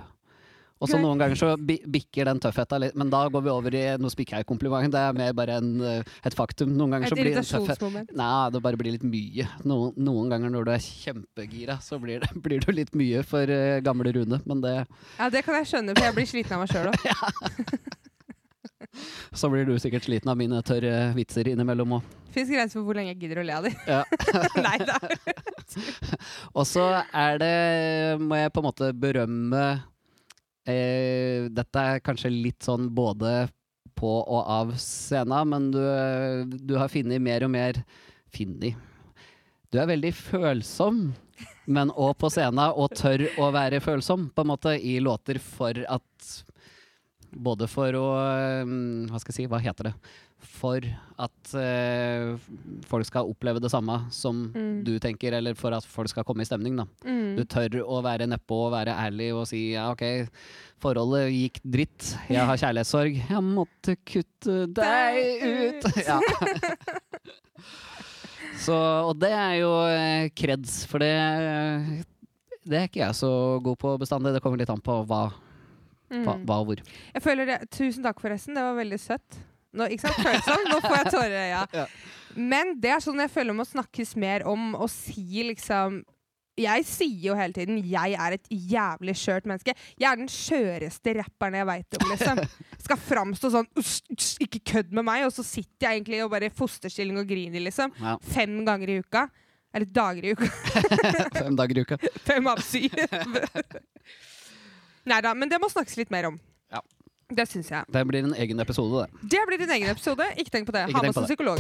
Speaker 1: Og så
Speaker 2: Greit.
Speaker 1: noen ganger så bi bikker den tøffheta litt, men da går vi over i noe spikkeheia-kompliment. Det er mer bare en, eh, et faktum. Noen ganger
Speaker 2: Et
Speaker 1: så blir den tøffhet
Speaker 2: irritasjonsmoment.
Speaker 1: Nei, det bare blir litt mye. Noen, noen ganger når du er kjempegira, så blir, det, *laughs* blir du litt mye for eh, gamle Rune. Men det,
Speaker 2: Ja, det kan jeg skjønne, for jeg blir sliten av meg sjøl *laughs* òg.
Speaker 1: så blir du sikkert sliten av mine tørre vitser innimellom òg.
Speaker 2: Fins grenser for hvor lenge jeg gidder å le av dem.
Speaker 1: Ja.
Speaker 2: *laughs* Nei da.
Speaker 1: Og så er det, må jeg på en måte berømme eh, Dette er kanskje litt sånn både på og av scenen, men du, du har funnet mer og mer Funnet. Du er veldig følsom, men òg på scenen, og tør å være følsom, på en måte, i låter for at både for å eh, Hva skal jeg si, hva heter det? For at eh, folk skal oppleve det samme som
Speaker 2: Mm.
Speaker 1: du tenker, eller for at folk skal komme i stemning, da.
Speaker 2: Mm.
Speaker 1: Du tør å være nedpå og være ærlig og si ja, OK, forholdet gikk dritt, jeg har kjærlighetssorg, jeg måtte kutte deg ut.
Speaker 2: *laughs*
Speaker 1: Ja. Så, og det er jo eh, kreds, for det eh, det er ikke jeg så god på bestandig. Det kommer litt an på hva, hva,
Speaker 2: Mm.
Speaker 1: hva og hvor.
Speaker 2: Jeg føler det. Tusen takk, forresten. Det var veldig søtt. Nå, ikke sant? Følsom. Nå får jeg tårer i øya.
Speaker 1: *laughs* Ja.
Speaker 2: Men det er sånn jeg føler må snakkes mer om og si liksom jeg sier jo hele tiden jeg er et jævlig skjørt menneske. Jeg er den skjøreste rapperen jeg veit om.
Speaker 1: *laughs*
Speaker 2: liksom. Skal framstå sånn «Uss, uss, Ikke kødd med meg! Og så sitter jeg egentlig og bare i fosterstilling og griner. liksom.
Speaker 1: Ja.
Speaker 2: Fem ganger i uka. Eller dager i uka. *laughs*
Speaker 1: Fem dager i uka.
Speaker 2: Fem av
Speaker 1: *laughs*
Speaker 2: syv. Nei da, men det må snakkes litt mer om.
Speaker 1: Ja.
Speaker 2: Det syns jeg.
Speaker 1: Det blir en egen episode, det.
Speaker 2: Det blir din egen episode. Ikke tenk på det.
Speaker 1: Ikke
Speaker 2: Ha
Speaker 1: tenk
Speaker 2: med
Speaker 1: på
Speaker 2: oss en
Speaker 1: det.
Speaker 2: psykolog.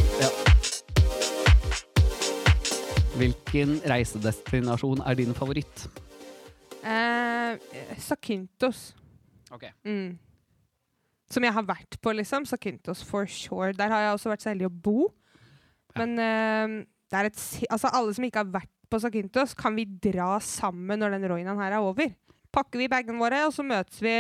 Speaker 1: Hvilken reisedestinasjon er din favoritt?
Speaker 2: Eh, Sakintos.
Speaker 1: Ok.
Speaker 2: Mm. Som jeg har vært på, liksom. Sakintos for sure. Der har jeg også vært så heldig å bo.
Speaker 1: Ja.
Speaker 2: Men eh, det er et si- Altså, alle som ikke har vært på Sakintos, kan vi dra sammen når den roinaen her er over. Pakker vi bagene våre, og så møtes vi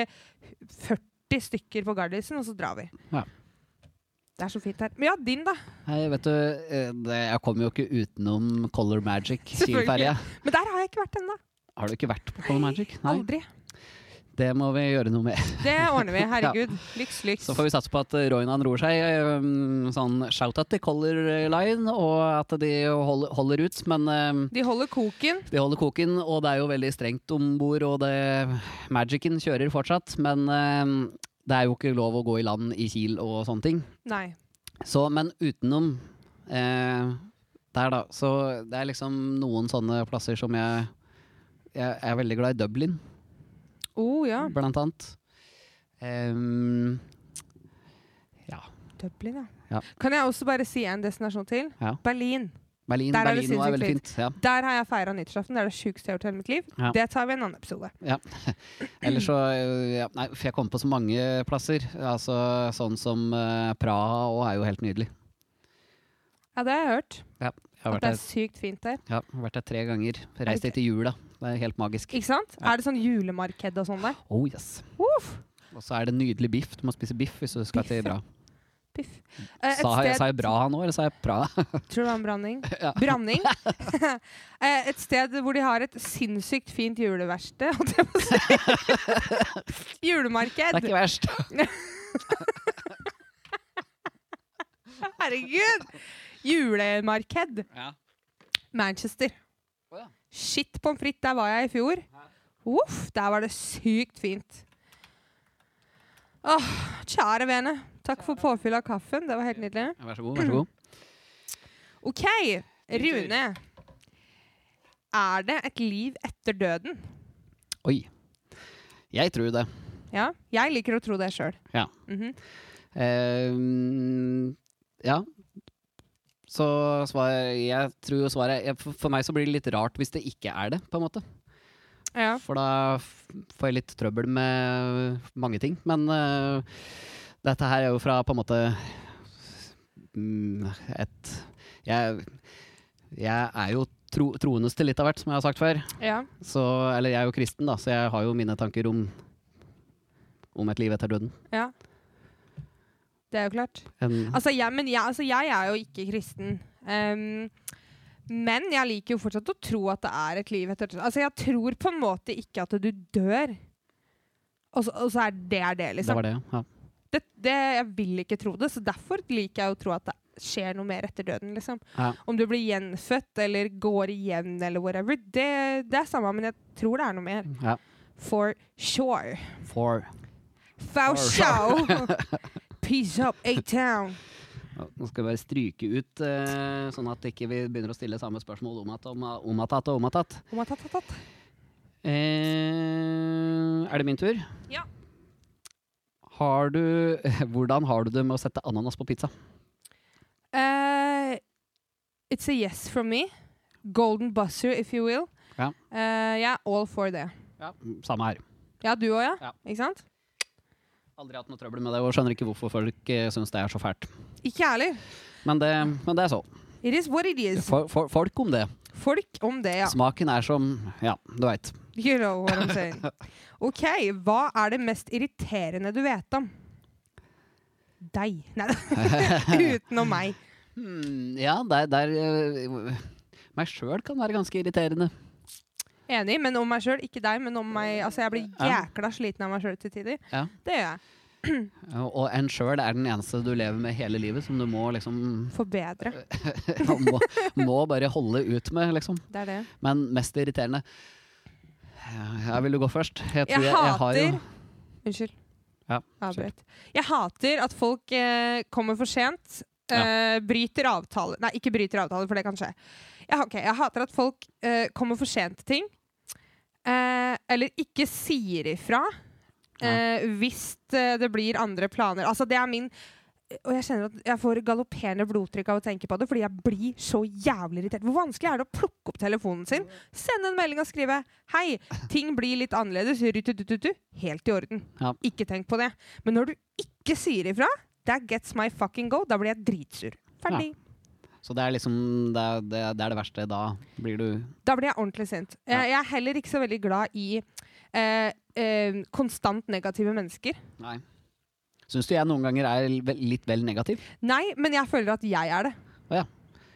Speaker 2: 40 stykker på Gardisen, og så drar vi.
Speaker 1: Ja.
Speaker 2: Det er så fint her. Men ja, din, da.
Speaker 1: Hei, vet du, eh, det, jeg kommer jo ikke utenom Color Magic
Speaker 2: Selvfølgelig.
Speaker 1: Kielferja.
Speaker 2: Men der har jeg ikke vært ennå.
Speaker 1: Har du ikke vært på Color Magic? Nei.
Speaker 2: Aldri.
Speaker 1: Det må vi gjøre noe med.
Speaker 2: Det
Speaker 1: *laughs*
Speaker 2: ordner vi. Herregud. Lyks, lyks.
Speaker 1: Så får vi satse på at eh, Roynan roer seg. eh, mm, Sånn shout-out til Color Line, og at de holder, holder ut. Men eh,
Speaker 2: De holder koken.
Speaker 1: de holder koken, og det er jo veldig strengt om bord, og det, magicen kjører fortsatt. Men eh, det er jo ikke lov å gå i land i Kiel og sånne ting.
Speaker 2: Nei.
Speaker 1: Så, men utenom eh, der, da. Så det er liksom noen sånne plasser som jeg Jeg er veldig glad i Dublin,
Speaker 2: Oh ja.
Speaker 1: blant annet. Ehm, ja.
Speaker 2: Dublin, ja.
Speaker 1: Ja.
Speaker 2: Kan jeg også bare si en destinasjon til?
Speaker 1: Ja.
Speaker 2: Berlin.
Speaker 1: Berlin,
Speaker 2: Der er det
Speaker 1: Berlin nå er
Speaker 2: sinnssykt
Speaker 1: veldig fint. Ja.
Speaker 2: Der har jeg feira nyttårsaften. Det er det sjukeste jeg har gjort i hele mitt liv.
Speaker 1: Ja.
Speaker 2: Det tar vi i en annen episode.
Speaker 1: Ellers så eh, ja, Nei, for jeg kom på så mange plasser. Altså, sånn som eh, Praha og er jo helt nydelig.
Speaker 2: Ja, det har jeg hørt.
Speaker 1: Jeg har
Speaker 2: At
Speaker 1: vært
Speaker 2: det er
Speaker 1: der,
Speaker 2: sykt fint der.
Speaker 1: ja, vært der tre ganger. Reist dit i jula. Det er helt magisk.
Speaker 2: Ikke sant?
Speaker 1: Ja.
Speaker 2: Er det sånn julemarked og sånn der?
Speaker 1: Oh yes.
Speaker 2: Uff.
Speaker 1: Og så er det nydelig biff. Du må spise biff hvis du skal til Bra.
Speaker 2: *laughs* Piff. Eh,
Speaker 1: Sa jeg, sa jeg Braha nå, eller sa jeg Praha? *laughs*
Speaker 2: Tror du det var en branning?
Speaker 1: Ja.
Speaker 2: Branning.
Speaker 1: *laughs*
Speaker 2: *laughs* Eh, et sted hvor de har et sinnssykt fint juleverksted, holdt jeg på å
Speaker 1: *laughs*
Speaker 2: si.
Speaker 1: Det er
Speaker 2: Julemarked.
Speaker 1: ikke verst.
Speaker 2: *laughs* Herregud! Julemarked. Manchester.
Speaker 1: Å ja.
Speaker 2: Shit pommes frites, der var jeg i fjor. Uff, der var det sykt fint. Åh, kjære vene. Takk for påfyll av kaffen. Det var helt nydelig.
Speaker 1: Vær så god. vær så
Speaker 2: *clears throat*
Speaker 1: god.
Speaker 2: OK, Rune. Er det et liv etter døden?
Speaker 1: Oi. Jeg tror det.
Speaker 2: Ja, jeg liker å tro det Mhm. sjøl.
Speaker 1: Ja. Ehm, ja. Så svar, jeg tror jo svaret jeg, for- For meg så blir det litt rart hvis det ikke er det, på en måte.
Speaker 2: ja.
Speaker 1: For da f- får jeg litt trøbbel med mange ting. Men eh, dette her er jo fra på en måte mm, et Jeg, jeg er jo tro, troendes til litt av hvert, som jeg har sagt før.
Speaker 2: Ja.
Speaker 1: Så, eller jeg er jo kristen, da, så jeg har jo mine tanker om, om et liv etter døden.
Speaker 2: ja. Det er jo klart.
Speaker 1: En,
Speaker 2: Altså, jeg, men jeg, altså, jeg er jo ikke kristen. Ehm, men jeg liker jo fortsatt å tro at det er et liv etter Altså, jeg tror på en måte ikke at du dør. Og så, og så er det det,
Speaker 1: det
Speaker 2: liksom.
Speaker 1: var det, ja.
Speaker 2: Det, det, jeg vil ikke tro det, så derfor liker jeg å tro at det skjer noe mer etter døden, liksom.
Speaker 1: ja.
Speaker 2: Om du blir gjenfødt eller går igjen eller whatever, det, det er samme, men jeg tror det er noe mer.
Speaker 1: ja.
Speaker 2: For sure.
Speaker 1: For
Speaker 2: For
Speaker 1: For
Speaker 2: sure. *laughs* Peace up, A-Town.
Speaker 1: ja, Nå skal vi bare stryke ut, eh, sånn at ikke vi begynner å stille samme spørsmål om att om, om att att og om att att.
Speaker 2: Om at, at, at, at.
Speaker 1: Eh, er det min tur?
Speaker 2: Ja.
Speaker 1: Har du, *laughs* hvordan har du det med å sette ananas på pizza?
Speaker 2: Uh, it's a yes from me. Golden buzzer, if you will.
Speaker 1: Ja.
Speaker 2: Eh, jeg er all for det.
Speaker 1: Samme her.
Speaker 2: Ja, du òg, ja?
Speaker 1: Ja.
Speaker 2: Ikke sant?
Speaker 1: Aldri hatt noe trøbbel med det, og skjønner ikke hvorfor folk eh, syns det er så fælt.
Speaker 2: Ikke ærlig.
Speaker 1: Men det, men det er så.
Speaker 2: It is what it is.
Speaker 1: For, for, folk om det.
Speaker 2: Folk om det, ja.
Speaker 1: Smaken er som Ja, du veit.
Speaker 2: You know what I'm
Speaker 1: *laughs*
Speaker 2: saying. OK, hva er det mest irriterende du vet om? Deg. Nei
Speaker 1: *laughs*
Speaker 2: Utenom meg.
Speaker 1: Hmm, ja, der, der eh, Meg sjøl kan være ganske irriterende.
Speaker 2: Enig, men om meg sjøl. Ikke deg, men om meg. Altså, jeg blir
Speaker 1: Ja.
Speaker 2: jækla sliten av meg sjøl til tider.
Speaker 1: Ja.
Speaker 2: Det gjør jeg.
Speaker 1: Og en sjøl er den eneste du lever med hele livet, som du må liksom *laughs*
Speaker 2: Forbedre.
Speaker 1: må, må bare holde ut med, liksom.
Speaker 2: Det er det.
Speaker 1: Men mest irriterende Ja, vil du gå først? tror
Speaker 2: Jeg
Speaker 1: har jo-
Speaker 2: hater Unnskyld.
Speaker 1: Ja,
Speaker 2: Avbrøt. Jeg hater at folk eh, kommer for sent. eh, Bryter avtaler Nei, ikke bryter avtaler, for det kan skje. Jeg, ha- ok, jeg hater at folk eh, kommer for sent til ting. eh, eller ikke sier ifra eh, hvis eh, det blir andre planer. Altså, det er min og jeg kjenner at jeg får galopperende blodtrykk av å tenke på det, fordi jeg blir så jævlig irritert. Hvor vanskelig er det å plukke opp telefonen sin, sende en melding og skrive 'Hei, ting blir litt annerledes', rututututu. Helt i orden.
Speaker 1: Ja.
Speaker 2: Ikke tenk på det. Men når du ikke sier ifra, that gets my fucking go. Da blir jeg dritsur. Ferdig.
Speaker 1: Så det er liksom det, er- det, er- det er det verste. Da blir du
Speaker 2: Da blir jeg ordentlig sint. Jeg, jeg er heller ikke så veldig glad i eh, eh, konstant negative mennesker.
Speaker 1: Nei. Syns du jeg noen ganger er vel- litt vel negativ?
Speaker 2: Nei, men jeg føler at jeg er det.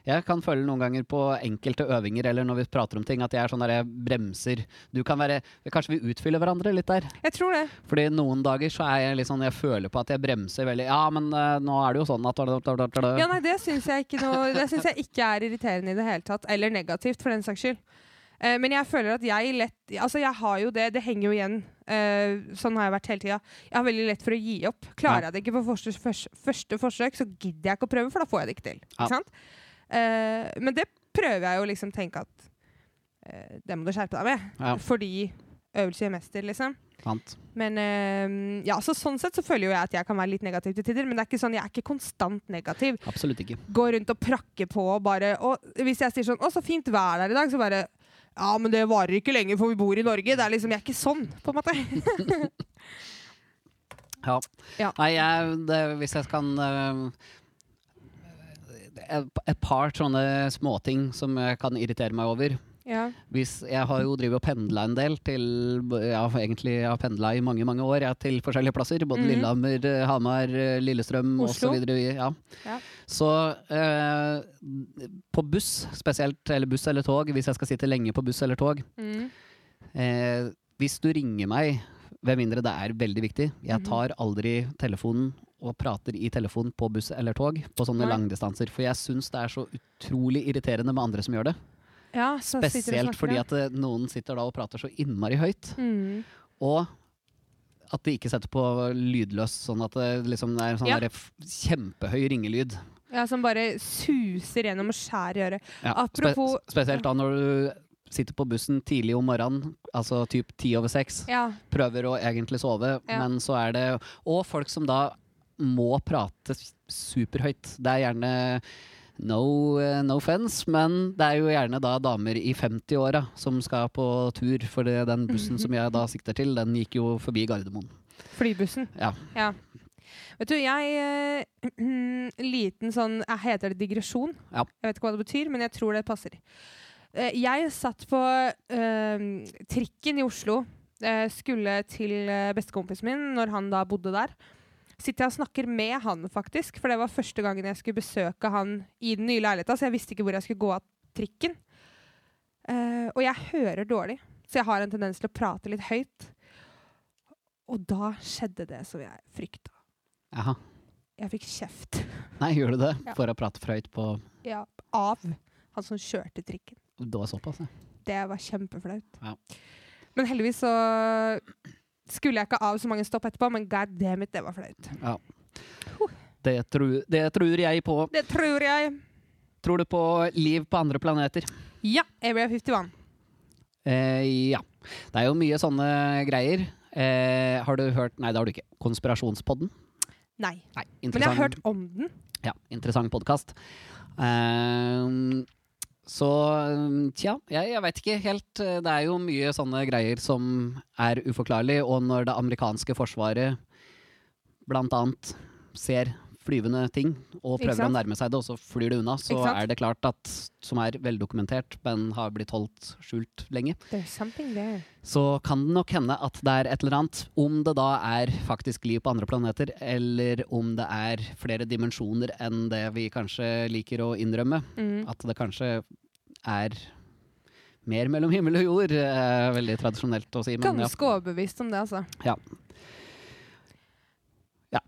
Speaker 1: Jeg kan føle noen ganger på enkelte øvinger eller når vi prater om ting, at jeg er sånn der jeg bremser. Du kan være Kanskje vi utfyller hverandre litt der.
Speaker 2: Jeg tror det.
Speaker 1: Fordi noen dager så er jeg litt sånn Jeg føler på at jeg bremser veldig. Ja, men eh, nå er det jo sånn at
Speaker 2: Ja, nei, det syns jeg, ikke noe- det syns jeg ikke er irriterende i det hele tatt. Eller negativt, for den saks skyld. Eh, men jeg føler at jeg lett Altså, jeg har jo det. Det henger jo igjen. Eh, sånn har jeg vært hele tida. Jeg har veldig lett for å gi opp. Klarer
Speaker 1: Ja.
Speaker 2: jeg det ikke på første, første, første forsøk, så gidder jeg ikke å prøve, for da får jeg det ikke til.
Speaker 1: Ja.
Speaker 2: Ikke sant? Eh, men det prøver jeg jo liksom tenke at eh, Det må du skjerpe deg med.
Speaker 1: Ja.
Speaker 2: Fordi øvelse gjør mester, liksom.
Speaker 1: Sant.
Speaker 2: Men eh, ja, så sånn sett så føler jo jeg at jeg kan være litt negativ til tider, men det er ikke sånn, jeg er ikke konstant negativ
Speaker 1: Absolutt ikke.
Speaker 2: gå rundt og prakke på og bare Og hvis jeg sier sånn 'Å, så fint vær det er i dag', så bare Ja, men det varer ikke lenge, for vi bor i Norge. Det er liksom, Jeg er ikke sånn, på en måte.
Speaker 1: Ja.
Speaker 2: Ja.
Speaker 1: Nei, jeg, det, hvis jeg kan eh, et- Et par sånne småting som jeg kan irritere meg over.
Speaker 2: *laughs* Ja.
Speaker 1: Hvis jeg har jo drevet og pendla en del til ja, egentlig Jeg har pendla i mange mange år ja, til forskjellige plasser. Både
Speaker 2: Mhm.
Speaker 1: Lillehammer, eh, Hamar, eh, Lillestrøm
Speaker 2: Oslo.
Speaker 1: osv. Ja.
Speaker 2: Ja.
Speaker 1: Så eh, på buss spesielt, eller buss eller tog, hvis jeg skal sitte lenge på buss eller tog
Speaker 2: Mm.
Speaker 1: eh, Hvis du ringer meg, med mindre det er veldig viktig
Speaker 2: Mhm.
Speaker 1: Jeg tar aldri telefonen og prater i telefon på buss eller tog på sånne
Speaker 2: Nei.
Speaker 1: langdistanser. For jeg syns det er så utrolig irriterende med andre som gjør det.
Speaker 2: ja så sitter du og
Speaker 1: Spesielt
Speaker 2: snakker,
Speaker 1: fordi
Speaker 2: ja.
Speaker 1: at eh, noen sitter da og prater så innmari høyt,
Speaker 2: mm.
Speaker 1: og at de ikke setter på lydløs, sånn at det liksom er sånn
Speaker 2: Ja.
Speaker 1: der f- kjempehøy ringelyd.
Speaker 2: ja, Som bare suser gjennom og skjærer i øret.
Speaker 1: Ja.
Speaker 2: Apropos-
Speaker 1: Spe spesielt da når du sitter på bussen tidlig om morgenen, altså typ ti over seks,
Speaker 2: Ja.
Speaker 1: prøver å egentlig sove,
Speaker 2: Ja.
Speaker 1: men så er det Og folk som da må prate s- superhøyt. Det er gjerne No, eh, no offense, men det er jo gjerne da damer i 50-åra som skal på tur. For det, den bussen som jeg da sikter til, den gikk jo forbi Gardermoen.
Speaker 2: Flybussen.
Speaker 1: Ja.
Speaker 2: Vet du, jeg eh, *clears throat* Liten sånn eh, Heter det digresjon?
Speaker 1: Ja.
Speaker 2: Jeg vet ikke hva det betyr, men jeg tror det passer. Eh, jeg satt på eh, trikken i Oslo, eh, skulle til eh, bestekompisen min når han da bodde der. Sitter jeg og snakker med han, faktisk, for det var første gangen jeg skulle besøke han i den nye leiligheta, så jeg visste ikke hvor jeg skulle gå av trikken. Eh, og jeg hører dårlig, så jeg har en tendens til å prate litt høyt. Og da skjedde det som jeg frykta.
Speaker 1: Jaha.
Speaker 2: Jeg fikk kjeft
Speaker 1: Nei, gjør du det?
Speaker 2: Ja.
Speaker 1: For å prate for høyt på
Speaker 2: ja, av han som kjørte trikken.
Speaker 1: Det var såpass, ja.
Speaker 2: Det var kjempeflaut.
Speaker 1: Ja.
Speaker 2: Men heldigvis så skulle jeg ikke av så mange stopp etterpå, men god damn it, det var flaut.
Speaker 1: Det, tru, det tror jeg på.
Speaker 2: Det tror jeg.
Speaker 1: Tror du på liv på andre planeter?
Speaker 2: Ja, Area 51.
Speaker 1: Eh, ja. Det er jo mye sånne greier. Eh, har du hørt Nei, det har du ikke. Konspirasjonspodden?
Speaker 2: Nei.
Speaker 1: Nei,
Speaker 2: Men jeg har
Speaker 1: interessant,
Speaker 2: hørt om den.
Speaker 1: ja, interessant podkast. så eh, tja, jeg, jeg veit ikke helt. Eh, Det er jo mye sånne greier som er uforklarlig. Og når det amerikanske forsvaret blant annet ser flyvende ting og
Speaker 2: Ikke
Speaker 1: prøver å
Speaker 2: sant?
Speaker 1: nærme seg det, og så flyr det unna, så
Speaker 2: Ikke sant?
Speaker 1: er det klart at Som er veldokumentert, men har blitt holdt skjult lenge.
Speaker 2: There's something there.
Speaker 1: så kan det nok hende at det er et eller annet. Om det da er faktisk liv på andre planeter, eller om det er flere dimensjoner enn det vi kanskje liker å innrømme.
Speaker 2: Mm.
Speaker 1: At det kanskje er mer mellom himmel og jord, er veldig tradisjonelt å si. Men ja.
Speaker 2: Ganske overbevist om det, altså.
Speaker 1: Ja. Ja.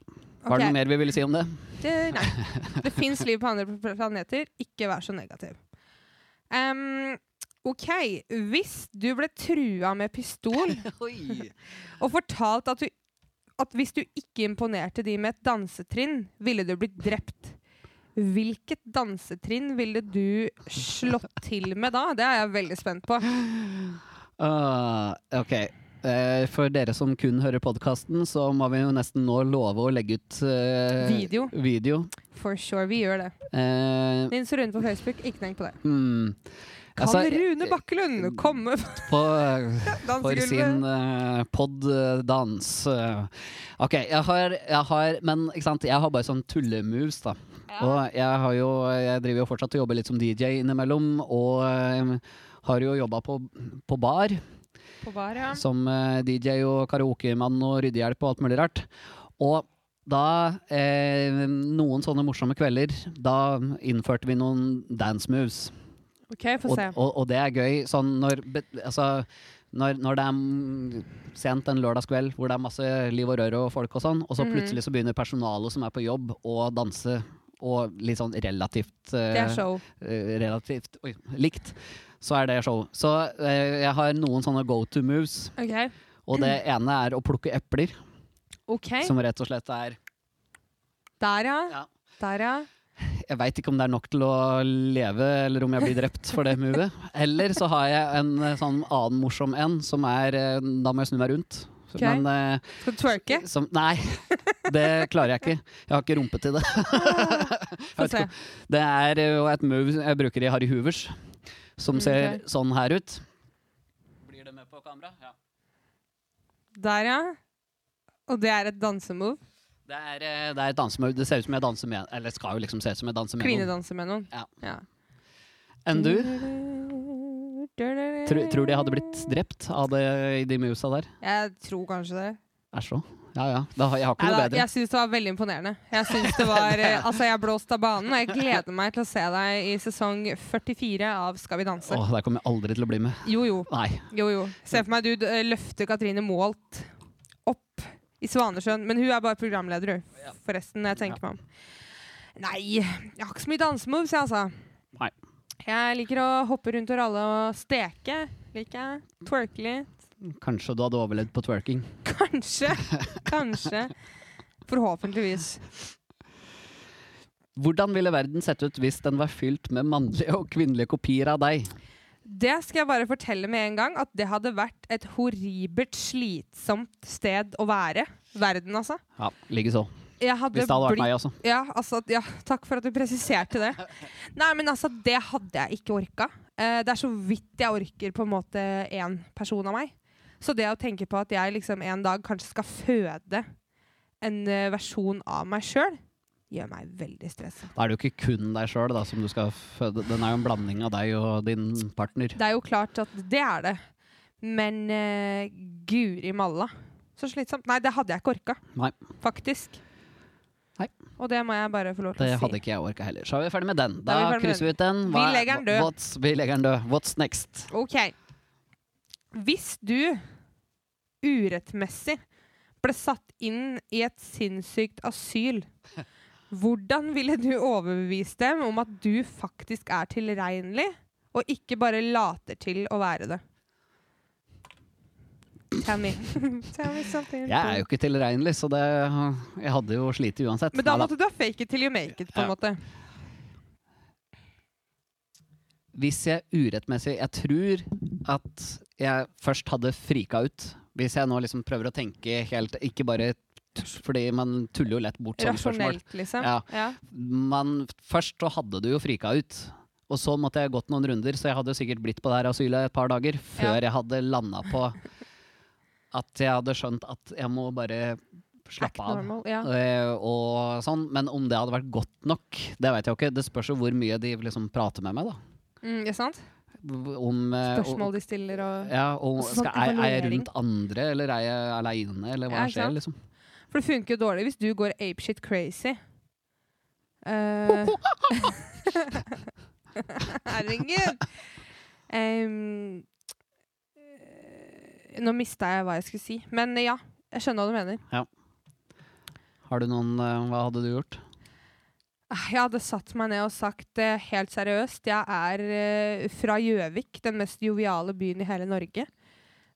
Speaker 1: Var det
Speaker 2: Ok,
Speaker 1: noe mer vi ville si om
Speaker 2: *laughs*
Speaker 1: det?
Speaker 2: det- nei. Det fins liv på andre planeter. Ikke vær så negativ. Em, OK. Hvis du ble trua med pistol og fortalt at, du, at hvis du ikke imponerte de med et dansetrinn, ville du blitt drept. Hvilket dansetrinn ville du slått til med da? Det er jeg veldig spent på.
Speaker 1: Ah, ok. Eh, for dere som kun hører podkasten, så må vi jo nesten nå love å legge ut eh,
Speaker 2: Video.
Speaker 1: video.
Speaker 2: For sure, vi gjør det.
Speaker 1: Eh,
Speaker 2: Nils Rune på Facebook, ikke tenk på det.
Speaker 1: Hmm.
Speaker 2: Kan
Speaker 1: Altså,
Speaker 2: Rune Bakkelund komme på
Speaker 1: på, for sin
Speaker 2: dansegulvet?
Speaker 1: uh, pod-dans eh. Ok, jeg har, jeg har Men ikke sant, jeg har bare sånn tullemoves, da. Og
Speaker 2: Ja.
Speaker 1: jeg, har jo, jeg driver jo fortsatt og jobber litt som DJ innimellom, og eh, har jo jobba på, på bar
Speaker 2: På bar, ja.
Speaker 1: som eh, DJ og karaokemann og ryddehjelp og alt mulig rart. Og da eh, Noen sånne morsomme kvelder, da innførte vi noen dance moves.
Speaker 2: OK, få
Speaker 1: Og,
Speaker 2: se.
Speaker 1: og, og det er gøy. Sånn når, be- altså, når, når det er mm, sent en lørdagskveld hvor det er masse liv og røre og folk og sånn, og så
Speaker 2: Mhm.
Speaker 1: plutselig så begynner personalet som er på jobb å danse, og litt sånn relativt eh,
Speaker 2: Det er show.
Speaker 1: eh, Relativt oi, likt. Så er det show. Så eh, jeg har noen sånne go to moves.
Speaker 2: OK.
Speaker 1: Og det
Speaker 2: Mm.
Speaker 1: ene er å plukke epler,
Speaker 2: ok.
Speaker 1: som rett og slett er
Speaker 2: Der, ja.
Speaker 1: Ja.
Speaker 2: Der, ja.
Speaker 1: Jeg veit ikke om det er nok til å leve, eller om jeg blir drept for det movet. Eller så har jeg en eh, sånn annen morsom en, som er eh, Da må jeg snu meg rundt.
Speaker 2: Ok.
Speaker 1: Men, eh,
Speaker 2: Skal du twerke?
Speaker 1: som, nei, det klarer jeg ikke. Jeg har ikke rumpe til det.
Speaker 2: Få
Speaker 1: vet
Speaker 2: se.
Speaker 1: ikke. Det er eh, jo et move jeg bruker i Harry Hoovers, som
Speaker 2: Mm,
Speaker 1: ser
Speaker 2: ok.
Speaker 1: sånn her ut. Blir det med på kamera? Ja.
Speaker 2: Der, ja. Og det er et dansemove.
Speaker 1: Det er, eh, det er et dansemove. Det ser ut som jeg danser med Eller skal jo liksom se ut som jeg danser med noen.
Speaker 2: Klinedanse med noen.
Speaker 1: Ja. Enn du? Tror, tror du jeg hadde blitt drept av det i de movesa der?
Speaker 2: Jeg tror kanskje det.
Speaker 1: Æsj òg. Ja ja. Da, har- jeg har ikke
Speaker 2: Neida,
Speaker 1: noe bedre.
Speaker 2: jeg syns det var veldig imponerende. Jeg synes det
Speaker 1: *laughs*
Speaker 2: var, eh, altså jeg er blåst av banen, og jeg gleder meg til å se deg i sesong 44 av Skal vi danse.
Speaker 1: Åh, der kommer jeg aldri til å bli med.
Speaker 2: Jo, jo.
Speaker 1: Nei.
Speaker 2: jo, jo. Se for meg du eh, løfter Katrine Maalt opp i Svanesjøen. Men hun er bare programleder, hun. Forresten, når jeg tenker meg om. Nei, jeg har ikke så mye dansemoves, jeg, altså.
Speaker 1: Nei.
Speaker 2: Jeg liker å hoppe rundt og ralle og steke. Liker jeg. Twerke litt.
Speaker 1: Kanskje du hadde overlevd på twerking. *laughs*
Speaker 2: Kanskje. Kanskje. Forhåpentligvis.
Speaker 1: Hvordan ville verden sett ut hvis den var fylt med mannlige og kvinnelige kopier av deg?
Speaker 2: Det skal jeg bare fortelle med en gang, at det hadde vært et horribelt slitsomt sted å være. Verden, altså.
Speaker 1: Ja, Likeså.
Speaker 2: Jeg hadde
Speaker 1: Hvis det hadde vært
Speaker 2: blitt-
Speaker 1: meg også.
Speaker 2: Ja, altså, ja, takk for at du presiserte det. Nei, men altså, det hadde jeg ikke orka. Eh, det er så vidt jeg orker på en måte én person av meg. Så det å tenke på at jeg liksom en dag kanskje skal føde en eh, versjon av meg sjøl, gjør meg veldig stressa.
Speaker 1: Da er det jo ikke kun deg sjøl som du skal føde. Den er jo en blanding av deg og din partner.
Speaker 2: Det er jo klart at det er det. Men eh, guri malla, så slitsomt. Nei, det hadde jeg ikke orka.
Speaker 1: Nei.
Speaker 2: Faktisk.
Speaker 1: Nei.
Speaker 2: Og det må jeg bare få lov til
Speaker 1: Det
Speaker 2: å si.
Speaker 1: hadde ikke jeg orka heller. Så er vi ferdig med den. Da
Speaker 2: Da er vi ferdig med
Speaker 1: krysser vi ut den.
Speaker 2: Vi legger den død.
Speaker 1: What's, vi legger den død. What's next?
Speaker 2: OK. Hvis du urettmessig ble satt inn i et sinnssykt asyl, hvordan ville du overbevist dem om at du faktisk er tilregnelig, og ikke bare later til å være det? Tell me. *laughs* Tell me something.
Speaker 1: Jeg er jo ikke tilregnelig, så det, jeg hadde jo slitt uansett.
Speaker 2: Men da
Speaker 1: Neida.
Speaker 2: måtte du ha fake it till you make it, på
Speaker 1: Ja.
Speaker 2: en måte.
Speaker 1: Hvis jeg urettmessig Jeg tror at jeg først hadde frika ut. Hvis jeg nå liksom prøver å tenke helt Ikke bare t- fordi man tuller jo lett bort sånne spørsmål.
Speaker 2: Rasjonelt, liksom.
Speaker 1: Ja.
Speaker 2: Ja.
Speaker 1: Men først så hadde du jo frika ut. Og så måtte jeg gått noen runder, så jeg hadde jo sikkert blitt på det her asylet et par dager før jeg hadde landa på at jeg hadde skjønt at jeg må bare
Speaker 2: Act
Speaker 1: slappe av.
Speaker 2: normal. Ja.
Speaker 1: Eh, og sånn, Men om det hadde vært godt nok, det vet jeg jo ikke. Det spørs jo hvor mye de liksom prater med meg, da.
Speaker 2: Mm, ikke sant?
Speaker 1: Om, eh,
Speaker 2: Spørsmål de stiller og
Speaker 1: Og, ja, og
Speaker 2: Altså,
Speaker 1: skal,
Speaker 2: sånn
Speaker 1: er, er jeg
Speaker 2: evaluering.
Speaker 1: rundt andre, eller er jeg aleine, eller hva
Speaker 2: Ja, ikke
Speaker 1: skjer,
Speaker 2: sant?
Speaker 1: liksom?
Speaker 2: For det funker jo dårlig hvis du går apeshit crazy. Eh, *laughs* Herregud! Em, eh, nå mista jeg hva jeg skulle si. Men ja, jeg skjønner hva du mener.
Speaker 1: Har du noen eh, Hva hadde du gjort?
Speaker 2: Ah, Jeg hadde satt meg ned og sagt eh, helt seriøst Jeg er eh, fra Gjøvik, den mest joviale byen i hele Norge.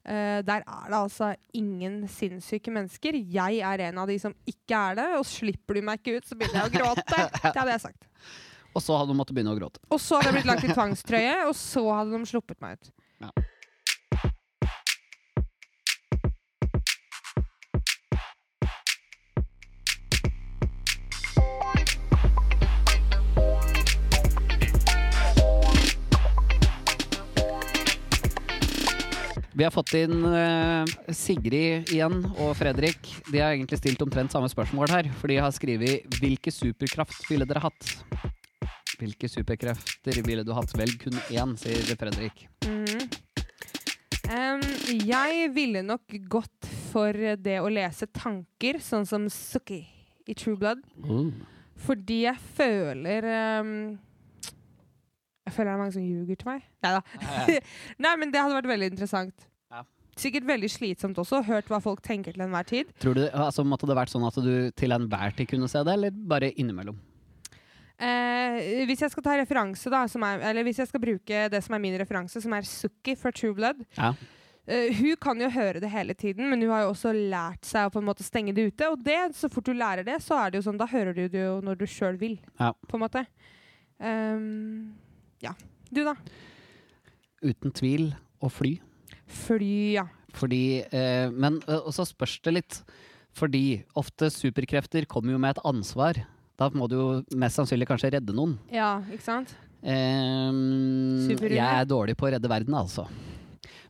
Speaker 2: Eh, der er det altså ingen sinnssyke mennesker. Jeg er en av de som ikke er det. Og slipper du meg ikke ut, så begynner jeg å gråte. Det hadde jeg sagt.
Speaker 1: Og så hadde du måttet begynne å gråte.
Speaker 2: Og så hadde jeg blitt lagt i tvangstrøye, og så hadde de sluppet meg ut.
Speaker 1: Ja. Vi har fått inn eh, Sigrid igjen og Fredrik. De har egentlig stilt omtrent samme spørsmål her. For de har skrevet 'Hvilke superkraft ville dere hatt?' Hvilke superkrefter ville du hatt? Velg kun én, sier Fredrik.
Speaker 2: Mhm. Em, jeg ville nok gått for det å lese tanker, sånn som Suki i True Blood. *laughs* Fordi jeg føler em, Jeg føler det er mange som ljuger til meg. Nei da. Nei, men det hadde vært veldig interessant.
Speaker 1: Ja.
Speaker 2: Sikkert veldig slitsomt også. Hørt hva folk tenker til enhver tid.
Speaker 1: Tror du, altså, måtte det vært sånn at du til enhver tid kunne se det, eller bare innimellom?
Speaker 2: Eh, hvis jeg skal ta referanse, da, som er, eller hvis jeg skal bruke det som er min referanse, som er Sukki fra True Blood
Speaker 1: Ja.
Speaker 2: eh, Hun kan jo høre det hele tiden, men hun har jo også lært seg å på en måte stenge det ute. Og det, så fort du lærer det, så er det jo sånn, da hører du det jo når du sjøl vil.
Speaker 1: Ja.
Speaker 2: På en måte. Ehm, ja. Du, da?
Speaker 1: Uten tvil å fly.
Speaker 2: Fly, ja.
Speaker 1: Fordi eh, Men eh, og så spørs det litt. Fordi ofte superkrefter kommer jo med et ansvar. Da må du jo mest sannsynlig kanskje redde noen.
Speaker 2: Ja, ikke sant?
Speaker 1: Ehm,
Speaker 2: Superhumor.
Speaker 1: jeg er dårlig på å redde verden, altså.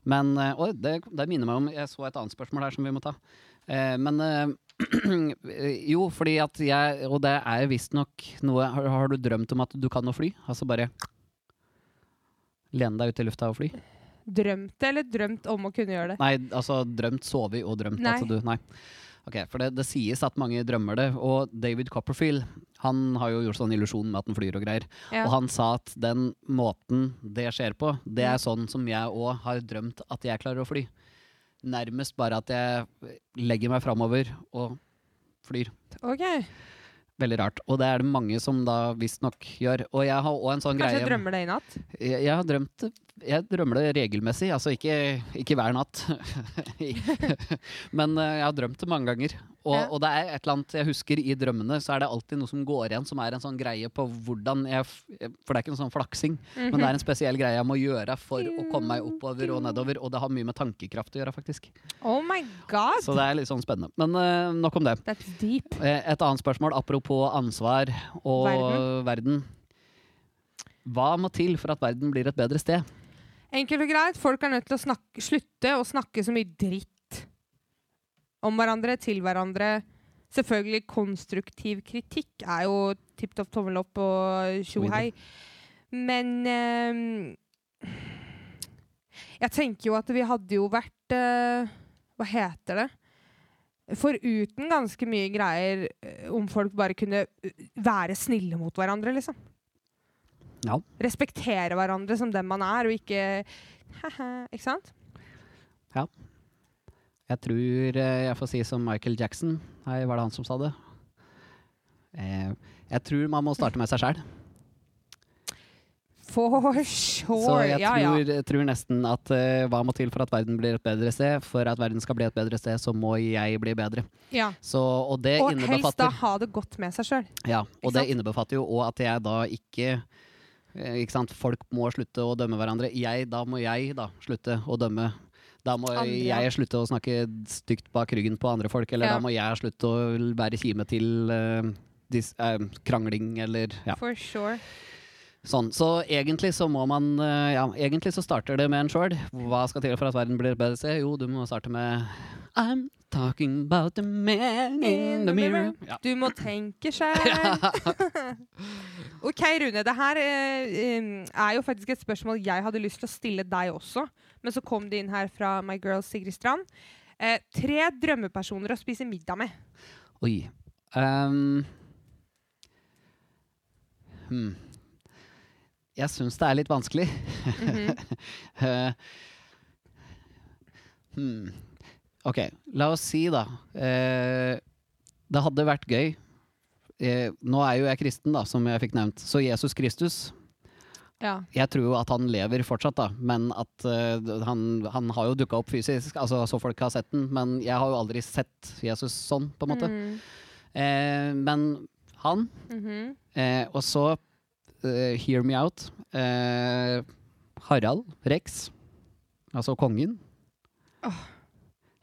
Speaker 1: Men eh, oi, det, det minner meg om Jeg så et annet spørsmål her som vi må ta. Eh, men eh, *clears throat* jo, fordi at jeg Og det er visstnok noe har, har du drømt om at du kan å fly? Altså bare lene deg ut i lufta og fly?
Speaker 2: Drømt det, eller drømt om å kunne gjøre det?
Speaker 1: Nei, altså drømt sove i og drømt
Speaker 2: Nei.
Speaker 1: at du Nei. Ok, For det, det sies at mange drømmer det. Og David Copperfield han har jo gjort sånn illusjon med at han flyr og greier.
Speaker 2: Ja.
Speaker 1: Og han sa at den måten det skjer på, det
Speaker 2: Mm.
Speaker 1: er sånn som jeg òg har drømt at jeg klarer å fly. Nærmest bare at jeg legger meg framover og flyr.
Speaker 2: OK.
Speaker 1: Veldig rart. Og det er det mange som da visstnok gjør. Og jeg har òg en sånn
Speaker 2: Kanskje jeg
Speaker 1: greie
Speaker 2: drømmer det i natt?
Speaker 1: jeg, jeg har drømt det. Jeg drømmer det regelmessig, altså ikke, ikke hver natt. *laughs* Men eh, jeg har drømt det mange ganger. Og,
Speaker 2: Ja.
Speaker 1: og det er et eller annet jeg husker i drømmene, så er det alltid noe som går igjen, som er en sånn greie på hvordan jeg f- For det er ikke en sånn flaksing, men
Speaker 2: Mhm.
Speaker 1: det er en spesiell greie jeg må gjøre for å komme meg oppover og nedover, og det har mye med tankekraft å gjøre, faktisk.
Speaker 2: Oh my god!
Speaker 1: Så det er litt sånn spennende. Men eh, nok om det.
Speaker 2: That's deep.
Speaker 1: Eh, Et annet spørsmål apropos ansvar og verden. Hva må til for at verden blir et bedre sted?
Speaker 2: Enkelt og greit, folk er nødt til å snakke, slutte å snakke så mye dritt om hverandre, til hverandre, Selvfølgelig konstruktiv kritikk er jo tipp topp tommel opp og tjohei. Men eh, jeg tenker jo at vi hadde jo vært eh, Hva heter det? Foruten ganske mye greier eh, om folk bare kunne eh, være snille mot hverandre, liksom.
Speaker 1: Ja.
Speaker 2: Respektere hverandre som den man er, og ikke Ikke sant?
Speaker 1: Jeg tror eh, jeg får si som Michael Jackson. Nei, var det han som sa det? Eh, Jeg tror man må starte med seg sjæl. *laughs*
Speaker 2: For
Speaker 1: Så
Speaker 2: sure.
Speaker 1: jeg
Speaker 2: Ja, ja.
Speaker 1: tror, tror nesten at eh, hva må til for at verden blir et bedre sted? For at verden skal bli et bedre sted, så må jeg bli bedre.
Speaker 2: ja.
Speaker 1: Så, og det
Speaker 2: Og helst da
Speaker 1: innebefatter
Speaker 2: ha det godt med seg sjøl.
Speaker 1: Ja, og
Speaker 2: Ikke
Speaker 1: det
Speaker 2: sant?
Speaker 1: innebefatter jo òg at jeg da ikke eh, ikke sant? Folk må slutte å dømme hverandre. Jeg, da må jeg da slutte å dømme. Da må
Speaker 2: Andre, ja.
Speaker 1: jeg slutte å snakke stygt bak ryggen på andre folk, eller da
Speaker 2: Ja.
Speaker 1: må jeg slutte å være kime til eh, dis, eh, krangling, eller ja,
Speaker 2: For sure.
Speaker 1: sånn. Så egentlig så må man eh, Ja, egentlig så starter det med en sjøl. Hva skal til for at verden blir et bedre sted? Jo, du må starte med I'm talking about the man in the mirror. Ja.
Speaker 2: Du
Speaker 1: *laughs*
Speaker 2: må tenke sjøl. *laughs* OK, Rune. Det her eh, em, er jo faktisk et spørsmål jeg hadde lyst til å stille deg også. Men så kom det inn her fra my girl Sigrid Strand. Eh, tre drømmepersoner å spise middag
Speaker 1: *laughs*
Speaker 2: med.
Speaker 1: Oi. Ehm. hmm. Jeg syns det er litt vanskelig. *laughs*
Speaker 2: Mhm.
Speaker 1: Eh, hmm. Ok, la oss si da eh, Det hadde vært gøy eh, Nå er jo jeg kristen, da, som jeg fikk nevnt. Så Jesus Kristus
Speaker 2: ja.
Speaker 1: Jeg tror jo at han lever fortsatt, da. Men at eh, han, han har jo dukka opp fysisk, altså, så folk har sett den. Men jeg har jo aldri sett Jesus sånn, på en måte.
Speaker 2: Mm.
Speaker 1: Eh, men han
Speaker 2: Mhm.
Speaker 1: eh, Og så eh, Hear Me Out. Eh, Harald Rex, altså kongen.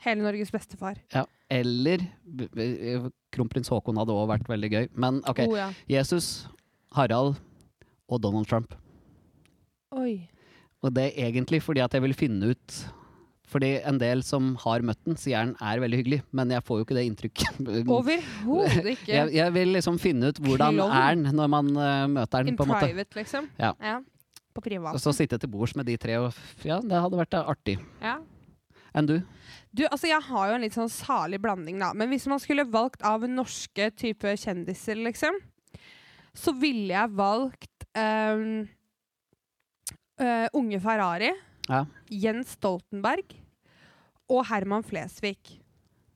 Speaker 2: Hele Norges bestefar.
Speaker 1: Ja. Eller b- b- kronprins Haakon hadde òg vært veldig gøy. Men OK.
Speaker 2: Oh, ja.
Speaker 1: Jesus, Harald og Donald Trump.
Speaker 2: Oi.
Speaker 1: Og det er egentlig fordi at jeg vil finne ut Fordi en del som har møtt den, sier han er veldig hyggelig, men jeg får jo ikke det inntrykket. *laughs*
Speaker 2: Overhodet ikke.
Speaker 1: Jeg, jeg vil liksom finne ut hvordan
Speaker 2: Klovn.
Speaker 1: er han når man eh, møter han,
Speaker 2: In
Speaker 1: på en måte.
Speaker 2: private, liksom?
Speaker 1: Ja.
Speaker 2: På privat.
Speaker 1: Og så sitte til bords med de tre og f- Ja, det hadde vært eh, artig.
Speaker 2: Ja.
Speaker 1: Enn du?
Speaker 2: Du, altså Jeg har jo en litt sånn salig blanding, da. Men hvis man skulle valgt av norske type kjendiser, liksom, så ville jeg valgt ehm, eh, Unge Ferrari,
Speaker 1: Ja.
Speaker 2: Jens Stoltenberg og Herman Flesvig.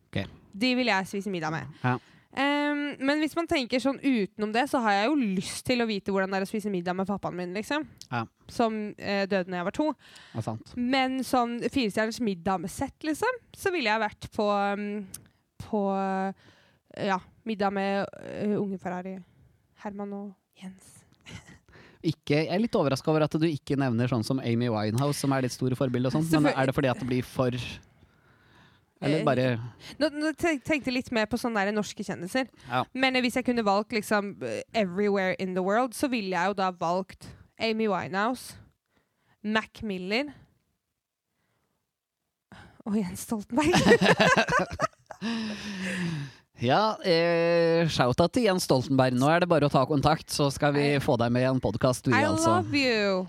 Speaker 1: Ok.
Speaker 2: De vil jeg spise middag med.
Speaker 1: Ja.
Speaker 2: Ehm, men hvis man tenker sånn utenom det, så har jeg jo lyst til å vite hvordan det er å spise middag med pappaen min, liksom.
Speaker 1: Ja.
Speaker 2: Som eh, døde når jeg var to.
Speaker 1: Ja, sant.
Speaker 2: Men sånn firestjerners middag med sett, liksom, så ville jeg vært på um, På uh, ja, middag med uh, unge Ferrari. Herman og Jens.
Speaker 1: Ikke, jeg er litt overraska over at du ikke nevner sånn som Amy Winehouse, som er ditt store forbilde og sånn, men
Speaker 2: Selvfølgelig.
Speaker 1: er det fordi at det blir for Eller
Speaker 2: Eh,
Speaker 1: bare
Speaker 2: Nå, nå te- tenkte jeg litt mer på sånne der norske kjendiser.
Speaker 1: Ja.
Speaker 2: Men eh, hvis jeg kunne valgt liksom eh, everywhere in the world, så ville jeg jo da valgt Amy Winehouse, Mac Miller og Jens
Speaker 1: *laughs*
Speaker 2: Stoltenberg.
Speaker 1: Ja, eh, shout-out til Jens Stoltenberg. Nå er det bare å ta kontakt, så skal vi
Speaker 2: I-
Speaker 1: få deg med i en podkast, vi
Speaker 2: I
Speaker 1: altså.
Speaker 2: love you!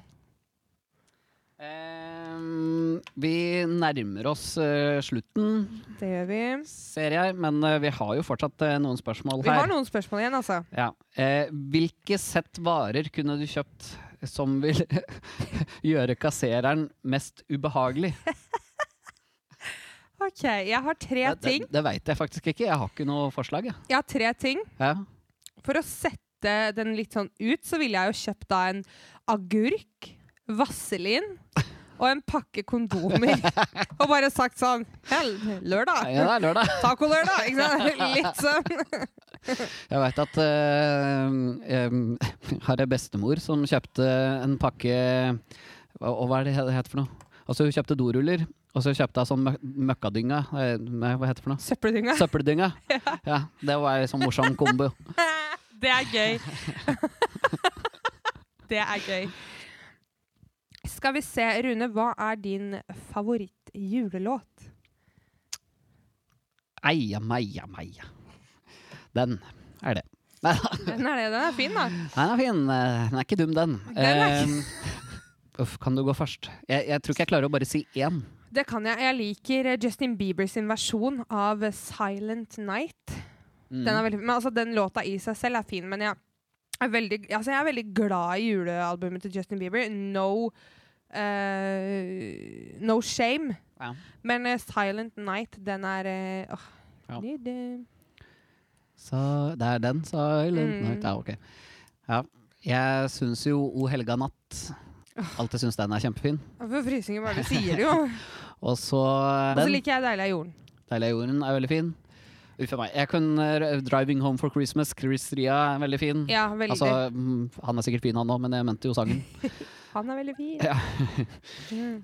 Speaker 1: Ehm, vi nærmer oss eh, slutten,
Speaker 2: Det gjør vi.
Speaker 1: ser jeg, men eh, vi har jo fortsatt eh, noen spørsmål
Speaker 2: Vi
Speaker 1: her.
Speaker 2: har noen spørsmål igjen, altså.
Speaker 1: Ja. Eh, hvilke sett varer kunne du kjøpt som vil *laughs* gjøre kassereren mest ubehagelig?
Speaker 2: OK, jeg har tre
Speaker 1: Det, det,
Speaker 2: ting.
Speaker 1: det veit jeg faktisk ikke. Jeg har ikke noe forslag. Jeg.
Speaker 2: Jeg har tre ting.
Speaker 1: Ja.
Speaker 2: For å sette den litt sånn ut, så ville jeg jo kjøpt da en agurk, vaselin og en pakke *laughs* kondomer. og bare sagt sånn «Ja, Lørdag!
Speaker 1: Ja, det er lørdag.
Speaker 2: Tacolørdag! Ikke sant? Litt sånn.
Speaker 1: Jeg veit at eh, em, *laughs* har jeg bestemor som kjøpte en pakke hva, og Hva er det det heter for noe? Altså, hun kjøpte doruller, og så kjøpte hun sånn møk møkkadynga. eh, nei, Hva heter det for noe?
Speaker 2: Søppeldynga.
Speaker 1: Søppeldynga. Ja, det var en sånn morsom kombo.
Speaker 2: *laughs* Det er gøy. *laughs* det er gøy. Skal vi se, Rune, hva er din favoritt-julelåt?
Speaker 1: Eia, meia, meia. Den er det. Nei da,
Speaker 2: Den er det, den er fin, da.
Speaker 1: den er fin. Eh, Den er ikke dum, den.
Speaker 2: Den er ikke-
Speaker 1: Eh, uff, kan du gå først? Jeg, jeg tror ikke jeg klarer å bare si én.
Speaker 2: Det kan jeg. Jeg liker eh, Justin Bieber sin versjon av eh, 'Silent Night'. Den,
Speaker 1: Mm.
Speaker 2: er veldig, men altså, den låta i seg selv er fin, men jeg er veldig, altså, jeg er veldig glad i julealbumet til Justin Bieber. No, eh, no shame.
Speaker 1: Ja.
Speaker 2: Men eh, 'Silent Night', den er eh, åh,
Speaker 1: Ja.
Speaker 2: det- det-
Speaker 1: Så det er den, sa Silent
Speaker 2: Mm.
Speaker 1: Night. Ja, ok. Ja. Jeg syns jo O helga natt Alltid syns den er kjempefin.
Speaker 2: Jeg får frysninger
Speaker 1: *laughs*
Speaker 2: bare du sier det, jo.
Speaker 1: Og så
Speaker 2: Og så
Speaker 1: den. Mm.
Speaker 2: liker jeg 'Deilig er jorden'.
Speaker 1: Deilig er jorden er veldig fin. Uff a meg. Jeg kan eh, 'Driving Home for Christmas', Chris Ria er veldig fin.
Speaker 2: Ja, veldig.
Speaker 1: altså, mm, han er sikkert fin, han òg, men jeg mente jo
Speaker 2: *laughs*
Speaker 1: sangen.
Speaker 2: Han er veldig fin.
Speaker 1: Ja.
Speaker 2: Mm.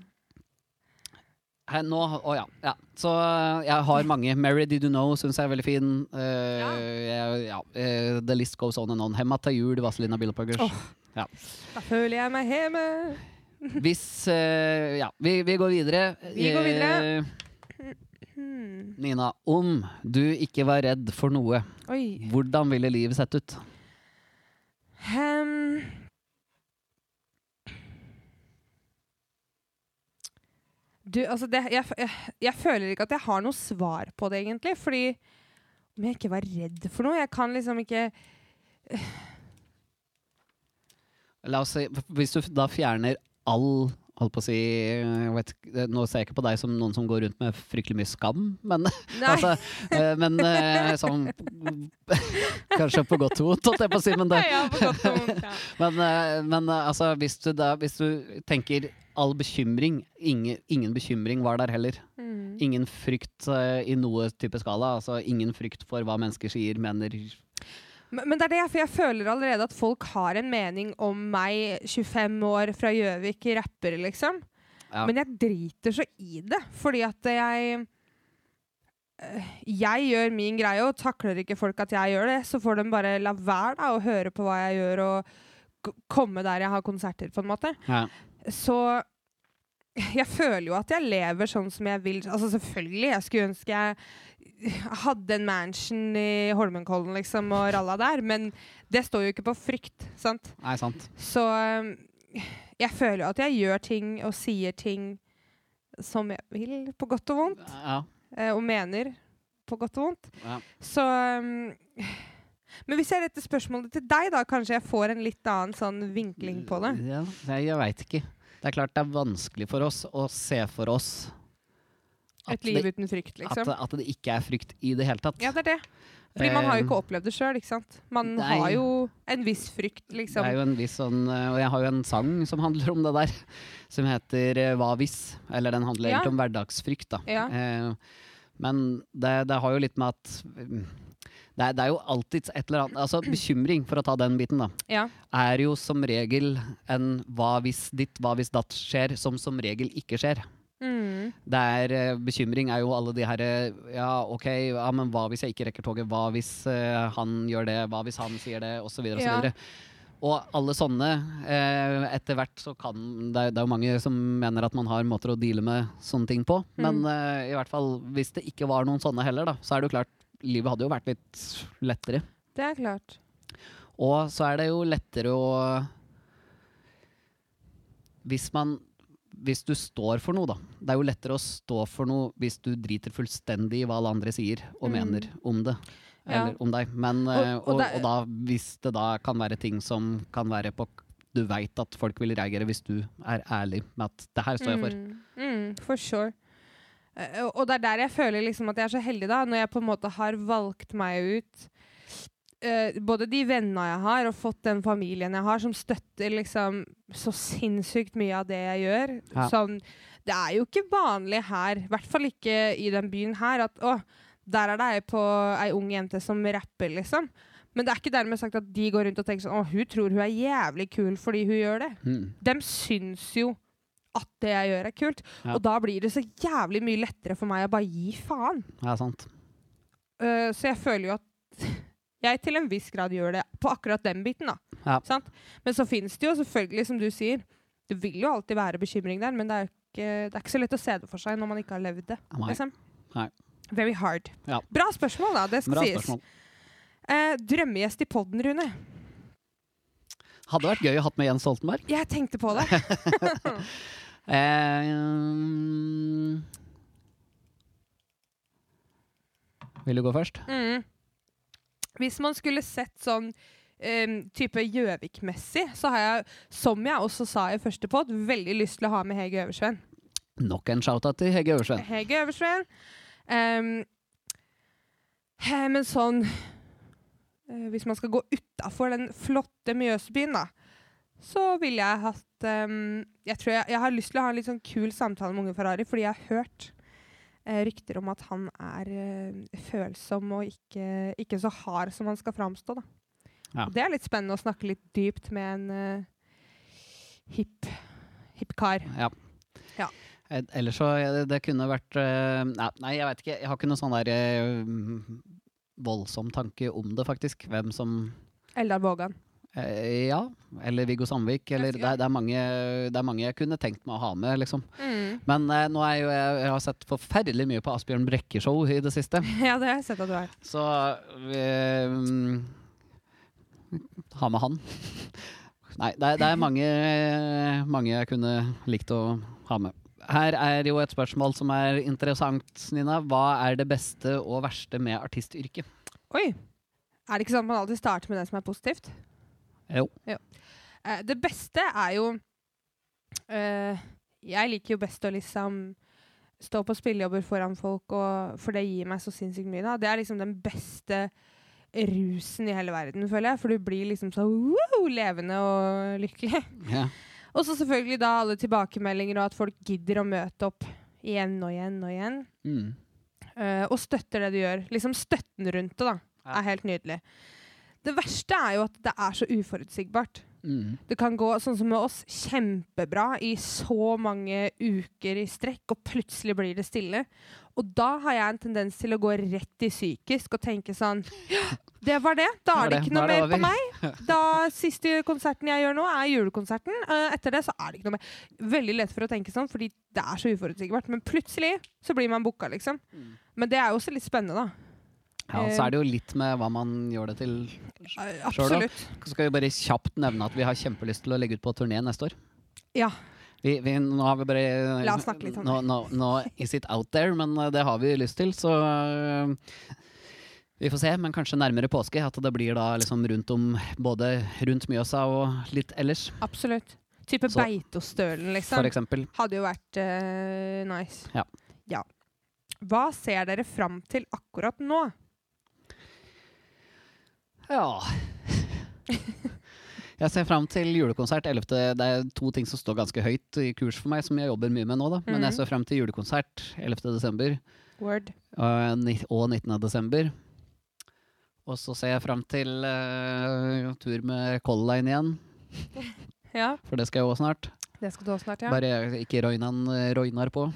Speaker 1: Hei, nå, å ja, ja. Så eh, jeg har mange. 'Mary Did You Know' syns jeg er veldig fin. Eh,
Speaker 2: Ja.
Speaker 1: jeg, ja. eh, 'The List Goes On and On'. 'Hemma til jul', Vazelina Billopphuggers.
Speaker 2: Åh. Da føler jeg meg hjemme.
Speaker 1: Hvis eh, Ja, vi, vi går videre.
Speaker 2: Vi går videre.
Speaker 1: Eh,
Speaker 2: Hmm.
Speaker 1: Nina, om du ikke var redd for noe,
Speaker 2: Oi.
Speaker 1: hvordan ville livet sett ut?
Speaker 2: Hem. du, altså det, jeg, f- jeg, jeg føler ikke at jeg har noe svar på det, egentlig. Fordi om jeg ikke var redd for noe Jeg kan liksom ikke
Speaker 1: La oss si, hvis du f- da fjerner all holdt på å si, jeg vet, ikke- eh, Nå ser jeg ikke på deg som noen som går rundt med fryktelig mye skam, men, *laughs*
Speaker 2: Nei,
Speaker 1: altså, eh, men eh, sånn *laughs* Kanskje på godt og vondt, holdt jeg på å si. Men, det,
Speaker 2: *laughs* ja, på godt og vondt. Ja.
Speaker 1: men, eh, men eh, altså, hvis du, da, hvis du tenker all bekymring ingen, ingen bekymring var der heller.
Speaker 2: Mm.
Speaker 1: Ingen frykt eh, i noe type skala. Altså ingen frykt for hva mennesker sier, mener
Speaker 2: Men, men det er det, for jeg føler allerede at folk har en mening om meg, 25 år, fra Gjøvik, rapper, liksom.
Speaker 1: Ja.
Speaker 2: Men jeg driter så i det, fordi at jeg øh, Jeg gjør min greie, og takler ikke folk at jeg gjør det, så får de bare la være da, å høre på hva jeg gjør, og k- komme der jeg har konserter, på en måte.
Speaker 1: ja.
Speaker 2: Så jeg føler jo at jeg lever sånn som jeg vil. Altså Selvfølgelig, jeg skulle ønske jeg hadde en mansion i Holmenkollen liksom, og ralla der, men det står jo ikke på frykt, sant?
Speaker 1: Nei, sant.
Speaker 2: Så um, jeg føler jo at jeg gjør ting og sier ting som jeg vil, på godt og vondt.
Speaker 1: Ja.
Speaker 2: eh, Og mener på godt og vondt.
Speaker 1: Ja.
Speaker 2: Så um, Men hvis jeg retter spørsmålet til deg, da, kanskje jeg får en litt annen sånn vinkling på det.
Speaker 1: Ja, jeg jeg veit ikke. Det er klart det er vanskelig for oss å se for oss
Speaker 2: Et liv
Speaker 1: det,
Speaker 2: uten frykt,
Speaker 1: at,
Speaker 2: liksom.
Speaker 1: at det ikke er frykt i det hele tatt. Eh,
Speaker 2: Ja, det er det. Fordi man har jo ikke opplevd det sjøl, ikke sant. Man
Speaker 1: Nei.
Speaker 2: har jo en viss frykt, liksom.
Speaker 1: Det er jo en viss sånn eh, Og jeg har jo en sang som handler om det der, som heter eh, Hva hvis? Eller den handler
Speaker 2: Ja.
Speaker 1: egentlig om hverdagsfrykt, da.
Speaker 2: Ja.
Speaker 1: Eh, Men det, det har jo litt med at mm, det er, det er jo alltid et eller annet Altså bekymring, for å ta den biten, da,
Speaker 2: Ja.
Speaker 1: er jo som regel en hva hvis ditt, hva hvis datt skjer, som som regel ikke skjer.
Speaker 2: Mm.
Speaker 1: Det er, eh, bekymring er jo alle de her eh, Ja, OK, ja, men hva hvis jeg ikke rekker toget? Hva hvis eh, han gjør det? Hva hvis han sier det? Og så videre og så
Speaker 2: Ja.
Speaker 1: videre. Og alle sånne eh, Etter hvert så kan det, er- det er jo mange som mener at man har måter å deale med sånne ting på. Men eh, i hvert fall hvis det ikke var noen sånne heller, da, så er det jo klart Livet hadde jo vært litt lettere.
Speaker 2: Det er klart.
Speaker 1: Og så er det jo lettere å Hvis man Hvis du står for noe, da. Det er jo lettere å stå for noe hvis du driter fullstendig i hva alle andre sier og
Speaker 2: Mm.
Speaker 1: mener om det.
Speaker 2: Ja.
Speaker 1: Eller om deg. Men, eh,
Speaker 2: og
Speaker 1: og, og,
Speaker 2: det-
Speaker 1: da, hvis det da kan være ting som kan være på Du veit at folk vil reagere hvis du er ærlig med at 'det her står jeg for'.
Speaker 2: Mm, mm, for sure. Eh, og- og det er der jeg føler liksom at jeg er så heldig, da, når jeg på en måte har valgt meg ut eh, både de vennene jeg har, og fått den familien jeg har, som støtter liksom så sinnssykt mye av det jeg gjør.
Speaker 1: Ja.
Speaker 2: Sånn, det er jo ikke vanlig her, i hvert fall ikke i den byen her, at å, der er det ei på ei ung jente som rapper, liksom. Men det er ikke dermed sagt at de går rundt og tenker sånn Å, hun tror hun er jævlig kul fordi hun gjør det
Speaker 1: Mm.
Speaker 2: de syns jo at det jeg gjør, er kult.
Speaker 1: Ja.
Speaker 2: Og da blir det så jævlig mye lettere for meg å bare gi faen.
Speaker 1: Ja, sant.
Speaker 2: Eh, så jeg føler jo at *laughs* jeg til en viss grad gjør det på akkurat den biten. da.
Speaker 1: Ja.
Speaker 2: Sant? Men så fins det jo selvfølgelig, som du sier, det vil jo alltid være bekymring der, men det er, jo ikke, det er ikke så lett å se det for seg når man ikke har levd det.
Speaker 1: Nei.
Speaker 2: Liksom.
Speaker 1: Nei.
Speaker 2: Very hard.
Speaker 1: Ja.
Speaker 2: Bra spørsmål, da. Det skal
Speaker 1: Bra
Speaker 2: sies.
Speaker 1: spørsmål.
Speaker 2: Eh, drømmegjest i podden, Rune.
Speaker 1: Hadde vært gøy å hatt med Jens Stoltenberg.
Speaker 2: Jeg tenkte på det.
Speaker 1: Eh, mm. vil du gå først?
Speaker 2: Mm. Hvis man skulle sett sånn em, type Gjøvik-messig, så har jeg, som jeg også sa i første pod, veldig lyst til å ha med Hege Øversveen.
Speaker 1: Nok en shout-out til Hege Øversveen.
Speaker 2: Hege Øversveen. Em, he, men sånn eh, Hvis man skal gå utafor den flotte Mjøsbyen, da, så ville jeg hatt em, Jeg tror jeg, jeg har lyst til å ha en litt sånn kul samtale med unge Ferrari, fordi jeg har hørt eh, rykter om at han er eh, følsom og ikke, ikke så hard som han skal framstå. Da.
Speaker 1: Ja.
Speaker 2: Og Det er litt spennende å snakke litt dypt med en uh, hipp hipp kar.
Speaker 1: Ja.
Speaker 2: Ja.
Speaker 1: Eh, Ellers så eh, Det kunne vært eh, Nei, nei, jeg veit ikke. Jeg har ikke noe sånn der eh, mm, voldsom tanke om det, faktisk. Hvem som
Speaker 2: Eldar Vågan.
Speaker 1: eh, Ja. Eller Viggo Sandvik. Eller det, er- det, er mange, det er mange jeg kunne tenkt meg å ha med, liksom.
Speaker 2: Mm.
Speaker 1: Men eh, nå er jo jeg, jeg har sett forferdelig mye på Asbjørn Brekke-show i det siste.
Speaker 2: *laughs* Ja, det har jeg sett at du er.
Speaker 1: Så eh, mm, Ha med han. *laughs* Nei, det er, det er mange, mange jeg kunne likt å ha med. Her er jo et spørsmål som er interessant, Nina. Hva er det beste og verste med artistyrket?
Speaker 2: Oi! Er det ikke sånn at man alltid starter med det som er positivt?
Speaker 1: Jo.
Speaker 2: Eh, det beste er jo eh, Jeg liker jo best å liksom stå på spillejobber foran folk, og, for det gir meg så sinnssykt mye. Da. Det er liksom den beste rusen i hele verden, føler jeg. For du blir liksom så wow, levende og lykkelig. *laughs*
Speaker 1: Ja.
Speaker 2: Og så selvfølgelig da alle tilbakemeldinger, og at folk gidder å møte opp igjen og igjen og igjen.
Speaker 1: Mm.
Speaker 2: Eh, og støtter det du gjør. Liksom støtten rundt det da,
Speaker 1: Ja.
Speaker 2: er helt nydelig. Det verste er jo at det er så uforutsigbart.
Speaker 1: Mm.
Speaker 2: Det kan gå sånn som med oss, kjempebra i så mange uker i strekk, og plutselig blir det stille. Og da har jeg en tendens til å gå rett i psykisk og tenke sånn «Ja, Det var det. Da er det ikke
Speaker 1: Nå
Speaker 2: noe
Speaker 1: er det
Speaker 2: mer på
Speaker 1: over.»
Speaker 2: meg. Da Siste konserten jeg gjør nå, er julekonserten. Eh, etter det så er det ikke noe mer. Veldig lett for å tenke sånn, fordi det er så uforutsigbart. Men plutselig så blir man booka, liksom.
Speaker 1: Mm.
Speaker 2: Men det er jo også litt spennende, da.
Speaker 1: ja, så er det jo litt med hva man gjør det til.
Speaker 2: Eh,
Speaker 1: Sjøl da?
Speaker 2: Absolutt.
Speaker 1: Så skal vi bare kjapt nevne at vi har kjempelyst til å legge ut på turné neste år.
Speaker 2: Ja.
Speaker 1: Vi, vi, nå har vi bare
Speaker 2: La oss snakke litt om
Speaker 1: nå, nå, nå is it out there, men eh, det har vi lyst til, så eh, vi får se, men kanskje nærmere påske. At det blir da liksom rundt om både rundt Mjøsa og litt ellers,
Speaker 2: Absolutt. Type
Speaker 1: Så-
Speaker 2: Beitostølen, liksom.
Speaker 1: for eksempel.
Speaker 2: Hadde jo vært eh, nice.
Speaker 1: Ja.
Speaker 2: Ja. Hva ser dere fram til akkurat nå?
Speaker 1: Ja. *laughs* Jeg ser fram til julekonsert 11. Det er to ting som står ganske høyt i kurs for meg, som jeg jobber mye med nå, da. Men jeg
Speaker 2: Mhm.
Speaker 1: ser fram til julekonsert 11. desember.
Speaker 2: Word.
Speaker 1: og Eh, ni- og 19. desember. Og så ser jeg fram til eh, tur med Color Line igjen,
Speaker 2: Ja,
Speaker 1: for det skal jeg òg snart.
Speaker 2: det skal du ha snart, ja.
Speaker 1: Bare jeg ikke røynan, eh, røynar på.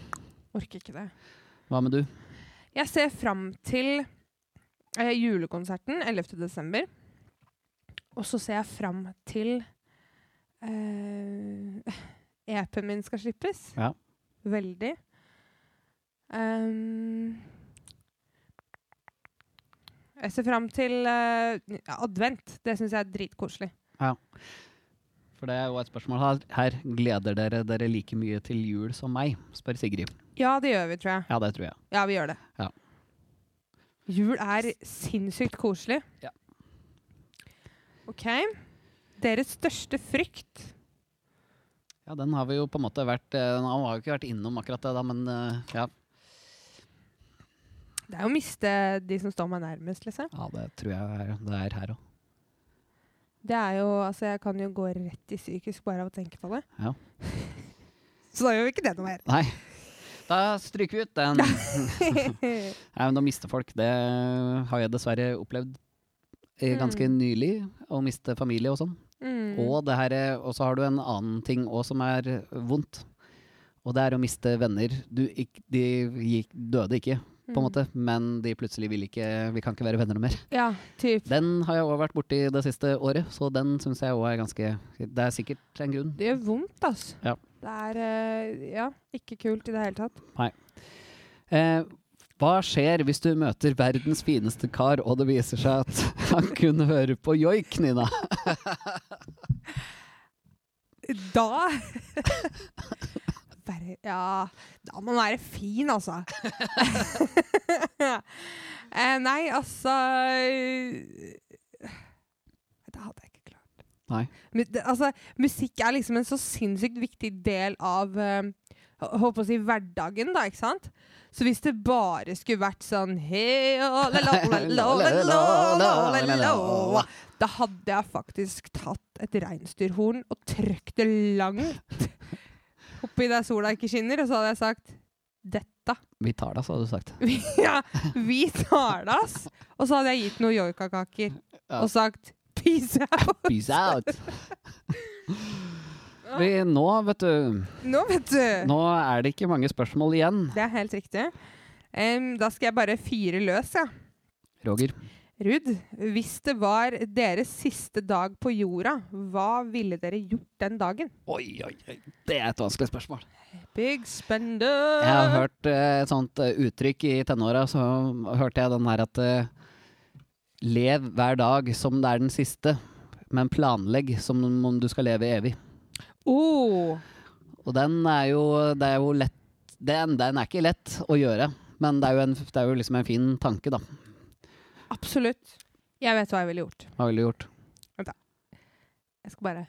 Speaker 2: Orker ikke det.
Speaker 1: Hva med du?
Speaker 2: Jeg ser fram til eh, julekonserten 11. desember. Og så ser jeg fram til eh, EP-en min skal slippes.
Speaker 1: Ja.
Speaker 2: Veldig. Ehm, jeg ser fram til eh, advent. Det syns jeg er dritkoselig.
Speaker 1: For det er jo et spørsmål her. her. Gleder dere dere like mye til jul som meg? spør Sigrid.
Speaker 2: Ja, det gjør vi, tror jeg.
Speaker 1: Ja, det tror jeg.
Speaker 2: Ja, vi gjør det.
Speaker 1: Ja.
Speaker 2: Jul er sinnssykt koselig.
Speaker 1: Ja.
Speaker 2: OK. Deres største frykt
Speaker 1: Ja, den har vi jo på en måte vært eh, Den har jo ikke vært innom akkurat det, da, men eh, ja.
Speaker 2: Det er jo å miste de som står meg nærmest, liksom.
Speaker 1: ja, det tror jeg er, det er her òg.
Speaker 2: Det er jo, altså Jeg kan jo gå rett i psykisk bare av å tenke på det.
Speaker 1: Ja.
Speaker 2: *laughs* Så da gjør vi ikke det noe
Speaker 1: *laughs*
Speaker 2: mer.
Speaker 1: Nei. Da stryker vi ut den. Nei, men å miste folk, det har jeg dessverre opplevd eh, ganske nylig. Å miste familie og sånn.
Speaker 2: Mm.
Speaker 1: Og det her, er- og så har du en annen ting òg som er vondt. Og det er å miste venner. Du, ikk- de gikk, døde ikke, på en
Speaker 2: Mm.
Speaker 1: måte, men de plutselig vil ikke Vi kan ikke være venner noe mer.
Speaker 2: Ja, typ.
Speaker 1: Den har jeg òg vært borti det siste året, så den syns jeg òg er ganske Det er sikkert en grunn.
Speaker 2: Det gjør vondt, altså.
Speaker 1: Ja.
Speaker 2: Det er eh, ja, ikke kult i det hele tatt.
Speaker 1: Eh, hva skjer hvis du møter verdens fineste kar, og det viser seg at *laughs* Han kun hører på joik, Nina.
Speaker 2: Da *laughs* Bare, Ja Da må man være fin, altså. *laughs* eh, nei, altså eh, Det hadde jeg ikke klart.
Speaker 1: Nei.
Speaker 2: Men det- altså, musikk er liksom en så sinnssykt viktig del av eh, hå- Håper å si hverdagen, da, ikke sant? Så hvis det bare skulle vært sånn hey, oh, la, la, la, la, la, la, la, la, la, Da hadde jeg faktisk tatt et reinsdyrhorn og trykt det langt oppi der sola ikke skinner, og så hadde jeg sagt dette.
Speaker 1: Vi tar det, så hadde du sagt.
Speaker 2: *laughs* ja, vi tar det, ass! Og så hadde jeg gitt noen joikakaker
Speaker 1: Ja.
Speaker 2: og sagt peace out.
Speaker 1: Peace out! Vi, nå, vet du
Speaker 2: Nå, vet du.
Speaker 1: Nå er det ikke mange spørsmål igjen,
Speaker 2: Det er helt riktig. Em, da skal jeg bare fyre løs, jeg. Ja.
Speaker 1: Roger.
Speaker 2: Ruud, hvis det var deres siste dag på jorda, hva ville dere gjort den dagen?
Speaker 1: Oi, oi, oi. Det er et vanskelig spørsmål.
Speaker 2: Big spender!
Speaker 1: Jeg har hørt eh, et sånt eh, uttrykk i tenåra, så hørte jeg den her at eh, Lev hver dag som det er den siste, men planlegg som om du skal leve evig.
Speaker 2: Oh,
Speaker 1: Og den er jo, det er jo lett den, den er ikke lett å gjøre, men det er jo, en, det er jo liksom en fin tanke, da.
Speaker 2: absolutt. Jeg vet hva jeg ville gjort.
Speaker 1: Hva ville du gjort?
Speaker 2: Jeg skal bare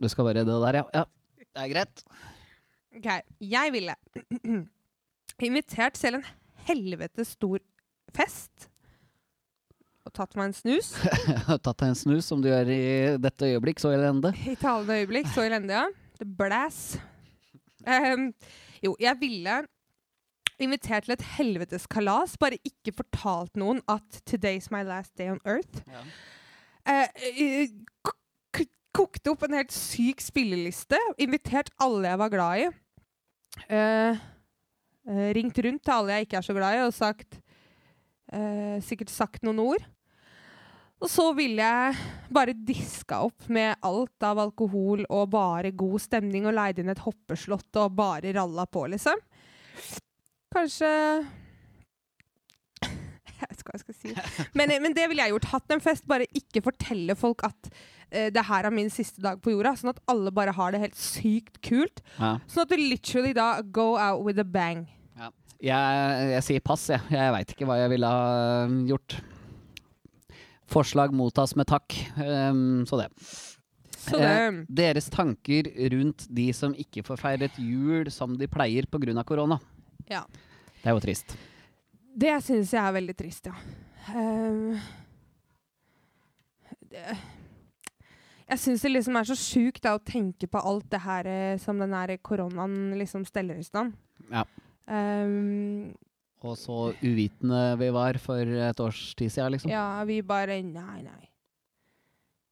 Speaker 1: Du skal bare det der, ja. ja. Det er greit.
Speaker 2: OK. Jeg ville *clears throat* invitert selv en helvetes stor fest og tatt meg en snus.
Speaker 1: Jeg *laughs* har tatt deg en snus, som du gjør i dette øyeblikk, så elende.
Speaker 2: I talende øyeblikk, så elendig, ja. The Blæs. Ehm, jo, jeg ville invitert til et helvetes kalas, bare ikke fortalt noen at today's my last day on earth.
Speaker 1: Ja.
Speaker 2: Eh, eh, k- k- kokte opp en helt syk spilleliste, invitert alle jeg var glad i. Eh, eh, ringt rundt til alle jeg ikke er så glad i, og sagt eh, Sikkert sagt noen ord. Og så ville jeg bare diska opp med alt av alkohol og bare god stemning og leide inn et hoppeslott og bare ralla på, liksom. Kanskje *laughs* Jeg vet ikke hva jeg skal si. Men, eh, men det ville jeg gjort. Hatt en fest, bare ikke fortelle folk at eh, det her er min siste dag på jorda. Sånn at alle bare har det helt sykt kult.
Speaker 1: Ja.
Speaker 2: Sånn at du literally da go out with a bang.
Speaker 1: Jeg, jeg sier pass, jeg. Jeg veit ikke hva jeg ville ha øhm, gjort. Forslag mottas med takk. Øhm, så det.
Speaker 2: Så det
Speaker 1: Eh, deres tanker rundt de som ikke får feiret jul som de pleier pga. korona.
Speaker 2: Ja.
Speaker 1: Det er jo trist.
Speaker 2: Det syns jeg er veldig trist, ja. Ehm, det, jeg syns det liksom er så sjukt da, å tenke på alt det her eh, som den her koronaen liksom steller i stand.
Speaker 1: Ja.
Speaker 2: Ehm,
Speaker 1: Og så uvitende vi var for et års tid siden, liksom.
Speaker 2: ja, vi bare Nei, nei.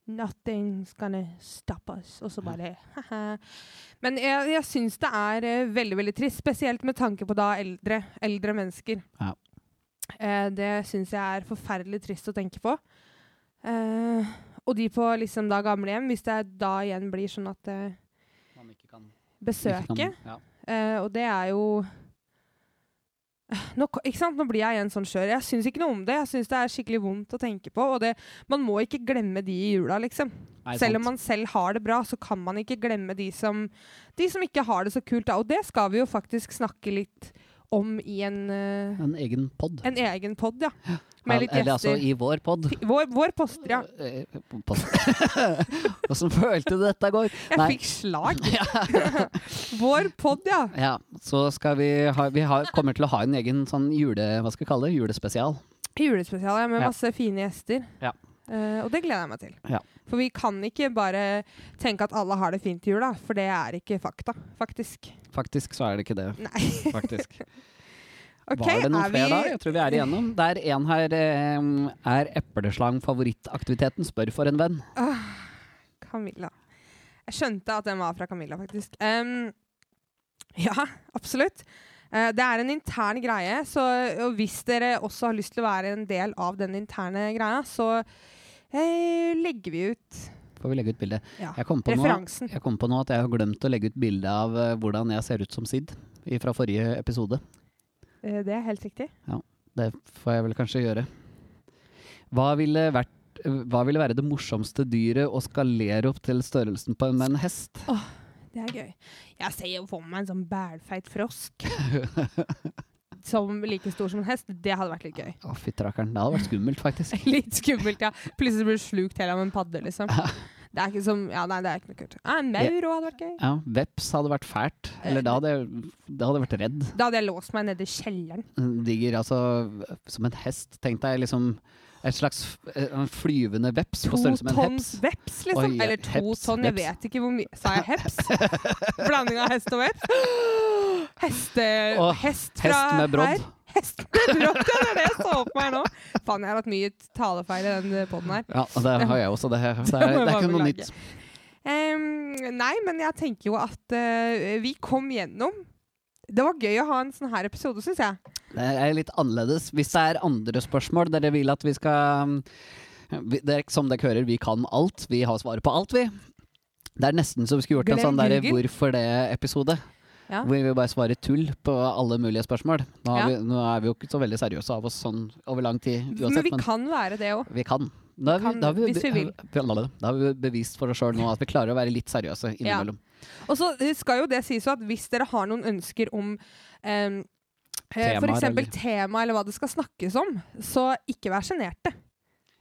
Speaker 2: Nothing's gonna stop us. Og så bare haha. Men jeg, jeg syns det er eh, veldig veldig trist, spesielt med tanke på da eldre, eldre mennesker.
Speaker 1: Ja.
Speaker 2: Eh, det syns jeg er forferdelig trist å tenke på. Eh, og de på liksom da gamlehjem, hvis det da igjen blir sånn at eh,
Speaker 1: Man ikke kan- ikke kan-
Speaker 2: besøket
Speaker 1: Ja.
Speaker 2: Eh, og det er jo *sighs* nå, ko- ikke sant? Nå blir jeg igjen sånn skjør. Jeg syns ikke noe om det. Jeg syns det er skikkelig vondt å tenke på. Og det, man må ikke glemme de i jula, liksom.
Speaker 1: Nei,
Speaker 2: selv om
Speaker 1: sant.
Speaker 2: man selv har det bra, så kan man ikke glemme de som, de som ikke har det så kult. Da. Og det skal vi jo faktisk snakke litt om i en, eh,
Speaker 1: En egen pod.
Speaker 2: en egen pod, ja. Med litt
Speaker 1: Eller altså
Speaker 2: gjester.
Speaker 1: i vår pod.
Speaker 2: Vår, vår poster, ja.
Speaker 1: Eh, pod. *laughs* Åssen følte du dette går?
Speaker 2: Jeg
Speaker 1: Nei.
Speaker 2: fikk
Speaker 1: *laughs*
Speaker 2: slag. vår pod, ja.
Speaker 1: Ja, så skal vi ha Vi har, kommer til å ha en egen sånn jule... Hva skal vi kalle det? Julespesial.
Speaker 2: Julespesial ja, med
Speaker 1: Ja.
Speaker 2: masse fine gjester.
Speaker 1: Ja.
Speaker 2: Eh, og det gleder jeg meg til.
Speaker 1: Ja.
Speaker 2: For vi kan ikke bare tenke at alle har det fint i jula, for det er ikke fakta, faktisk.
Speaker 1: Faktisk så er det ikke det.
Speaker 2: Nei. *laughs*
Speaker 1: Faktisk.
Speaker 2: Ok,
Speaker 1: Var det noen
Speaker 2: er vi-
Speaker 1: flere da? Jeg tror vi er igjennom. Det er en her eh, Er epleslang favorittaktiviteten? Spør for en venn.
Speaker 2: Camilla. Jeg skjønte at den var fra Camilla, faktisk. Em, ja, absolutt. Eh, det er en intern greie, så og hvis dere også har lyst til å være en del av den interne greia, så eh, legger vi ut
Speaker 1: Får vi legge ut bilde.
Speaker 2: ja,
Speaker 1: Jeg kom på nå
Speaker 2: referansen.
Speaker 1: jeg kom på nå at jeg har glemt å legge ut bilde av eh, hvordan jeg ser ut som Sid i- fra forrige episode.
Speaker 2: Eh, Det er helt riktig.
Speaker 1: Det får jeg vel kanskje gjøre. Hva ville, vært, hva ville være det morsomste dyret å skalere opp til størrelsen på en, med en hest?
Speaker 2: Det er gøy. Jeg ser jo for meg en sånn bælfeit
Speaker 1: *laughs*
Speaker 2: frosk. Som like stor som en hest. Det hadde vært litt gøy. *laughs*
Speaker 1: Å, fytterakker'n. Det hadde vært skummelt, faktisk.
Speaker 2: Litt skummelt, ja. Plutselig blir du slukt helt av en padde,
Speaker 1: *laughs*
Speaker 2: liksom. Det er ikke som Ja, nei, det er ikke noe kult. Ja, En maur også hadde vært gøy.
Speaker 1: Ja, Veps hadde vært fælt. Eller da hadde jeg, da hadde jeg vært redd.
Speaker 2: Da hadde jeg låst meg nede i kjelleren.
Speaker 1: Digger altså som en hest. Tenk deg liksom et slags f- en flyvende veps på
Speaker 2: To
Speaker 1: størrelse med en
Speaker 2: tonns
Speaker 1: heps.
Speaker 2: veps, liksom.
Speaker 1: Oi,
Speaker 2: Eller to
Speaker 1: heps,
Speaker 2: tonn, jeg
Speaker 1: veps.
Speaker 2: vet ikke hvor mye Sa jeg
Speaker 1: *laughs*
Speaker 2: heps? Blanding av hest og veps? *gasps* Heste,
Speaker 1: Åh,
Speaker 2: hest fra
Speaker 1: Hest med brodd.
Speaker 2: her. Hest med brodd, ja, det er det jeg så på meg nå. Faen, jeg har hatt mye talefeil i den poden her.
Speaker 1: Ja, det har jeg også. Det, er- det,
Speaker 2: *laughs* Det
Speaker 1: er,
Speaker 2: må jeg
Speaker 1: det er
Speaker 2: bare
Speaker 1: ikke noe
Speaker 2: beklage.
Speaker 1: nytt.
Speaker 2: Ehm, nei, men jeg tenker jo at eh, vi kom gjennom. Det var gøy å ha en sånn her episode, syns jeg.
Speaker 1: Det er litt annerledes. Hvis det er andre spørsmål dere vil at vi skal um, vi, det er, Som dere hører, vi kan alt. Vi har svaret på alt, vi. Det er nesten så vi skulle gjort en
Speaker 2: Glem
Speaker 1: sånn der
Speaker 2: Google.
Speaker 1: 'hvorfor det'-episode.
Speaker 2: Ja.
Speaker 1: Hvor vi bare svarer tull på alle mulige spørsmål. Nå, har
Speaker 2: Ja.
Speaker 1: vi, nå er vi jo ikke så veldig seriøse av oss sånn over lang tid uansett,
Speaker 2: men vi kan være det òg.
Speaker 1: Vi kan. Da har vi,
Speaker 2: Kan,
Speaker 1: da har vi,
Speaker 2: hvis vi
Speaker 1: *laughs*
Speaker 2: vil.
Speaker 1: Da har vi bevist for oss sjøl nå at vi klarer å være litt seriøse innimellom.
Speaker 2: Og så eh, skal jo det sies jo at hvis dere har noen ønsker om um,
Speaker 1: Temaer,
Speaker 2: F.eks.
Speaker 1: eller?
Speaker 2: tema eller hva det skal snakkes om, så ikke vær sjenerte.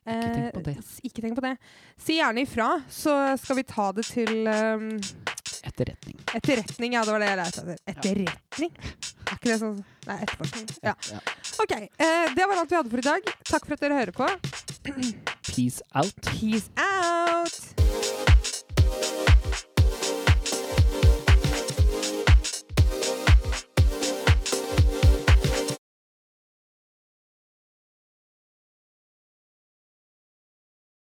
Speaker 2: Eh,
Speaker 1: Ikke tenk på det.
Speaker 2: ikke tenk på det. Si gjerne ifra, så skal vi ta det til ehm,
Speaker 1: Etterretning.
Speaker 2: Etterretning, ja. Det var det jeg lærte etter. Etterretning? Er ikke det sånn Nei, etterforskning. Ja.
Speaker 1: Ja.
Speaker 2: OK. Eh, det var alt vi hadde for i dag. Takk for at dere hører på.
Speaker 1: Peace out.
Speaker 2: Peace out!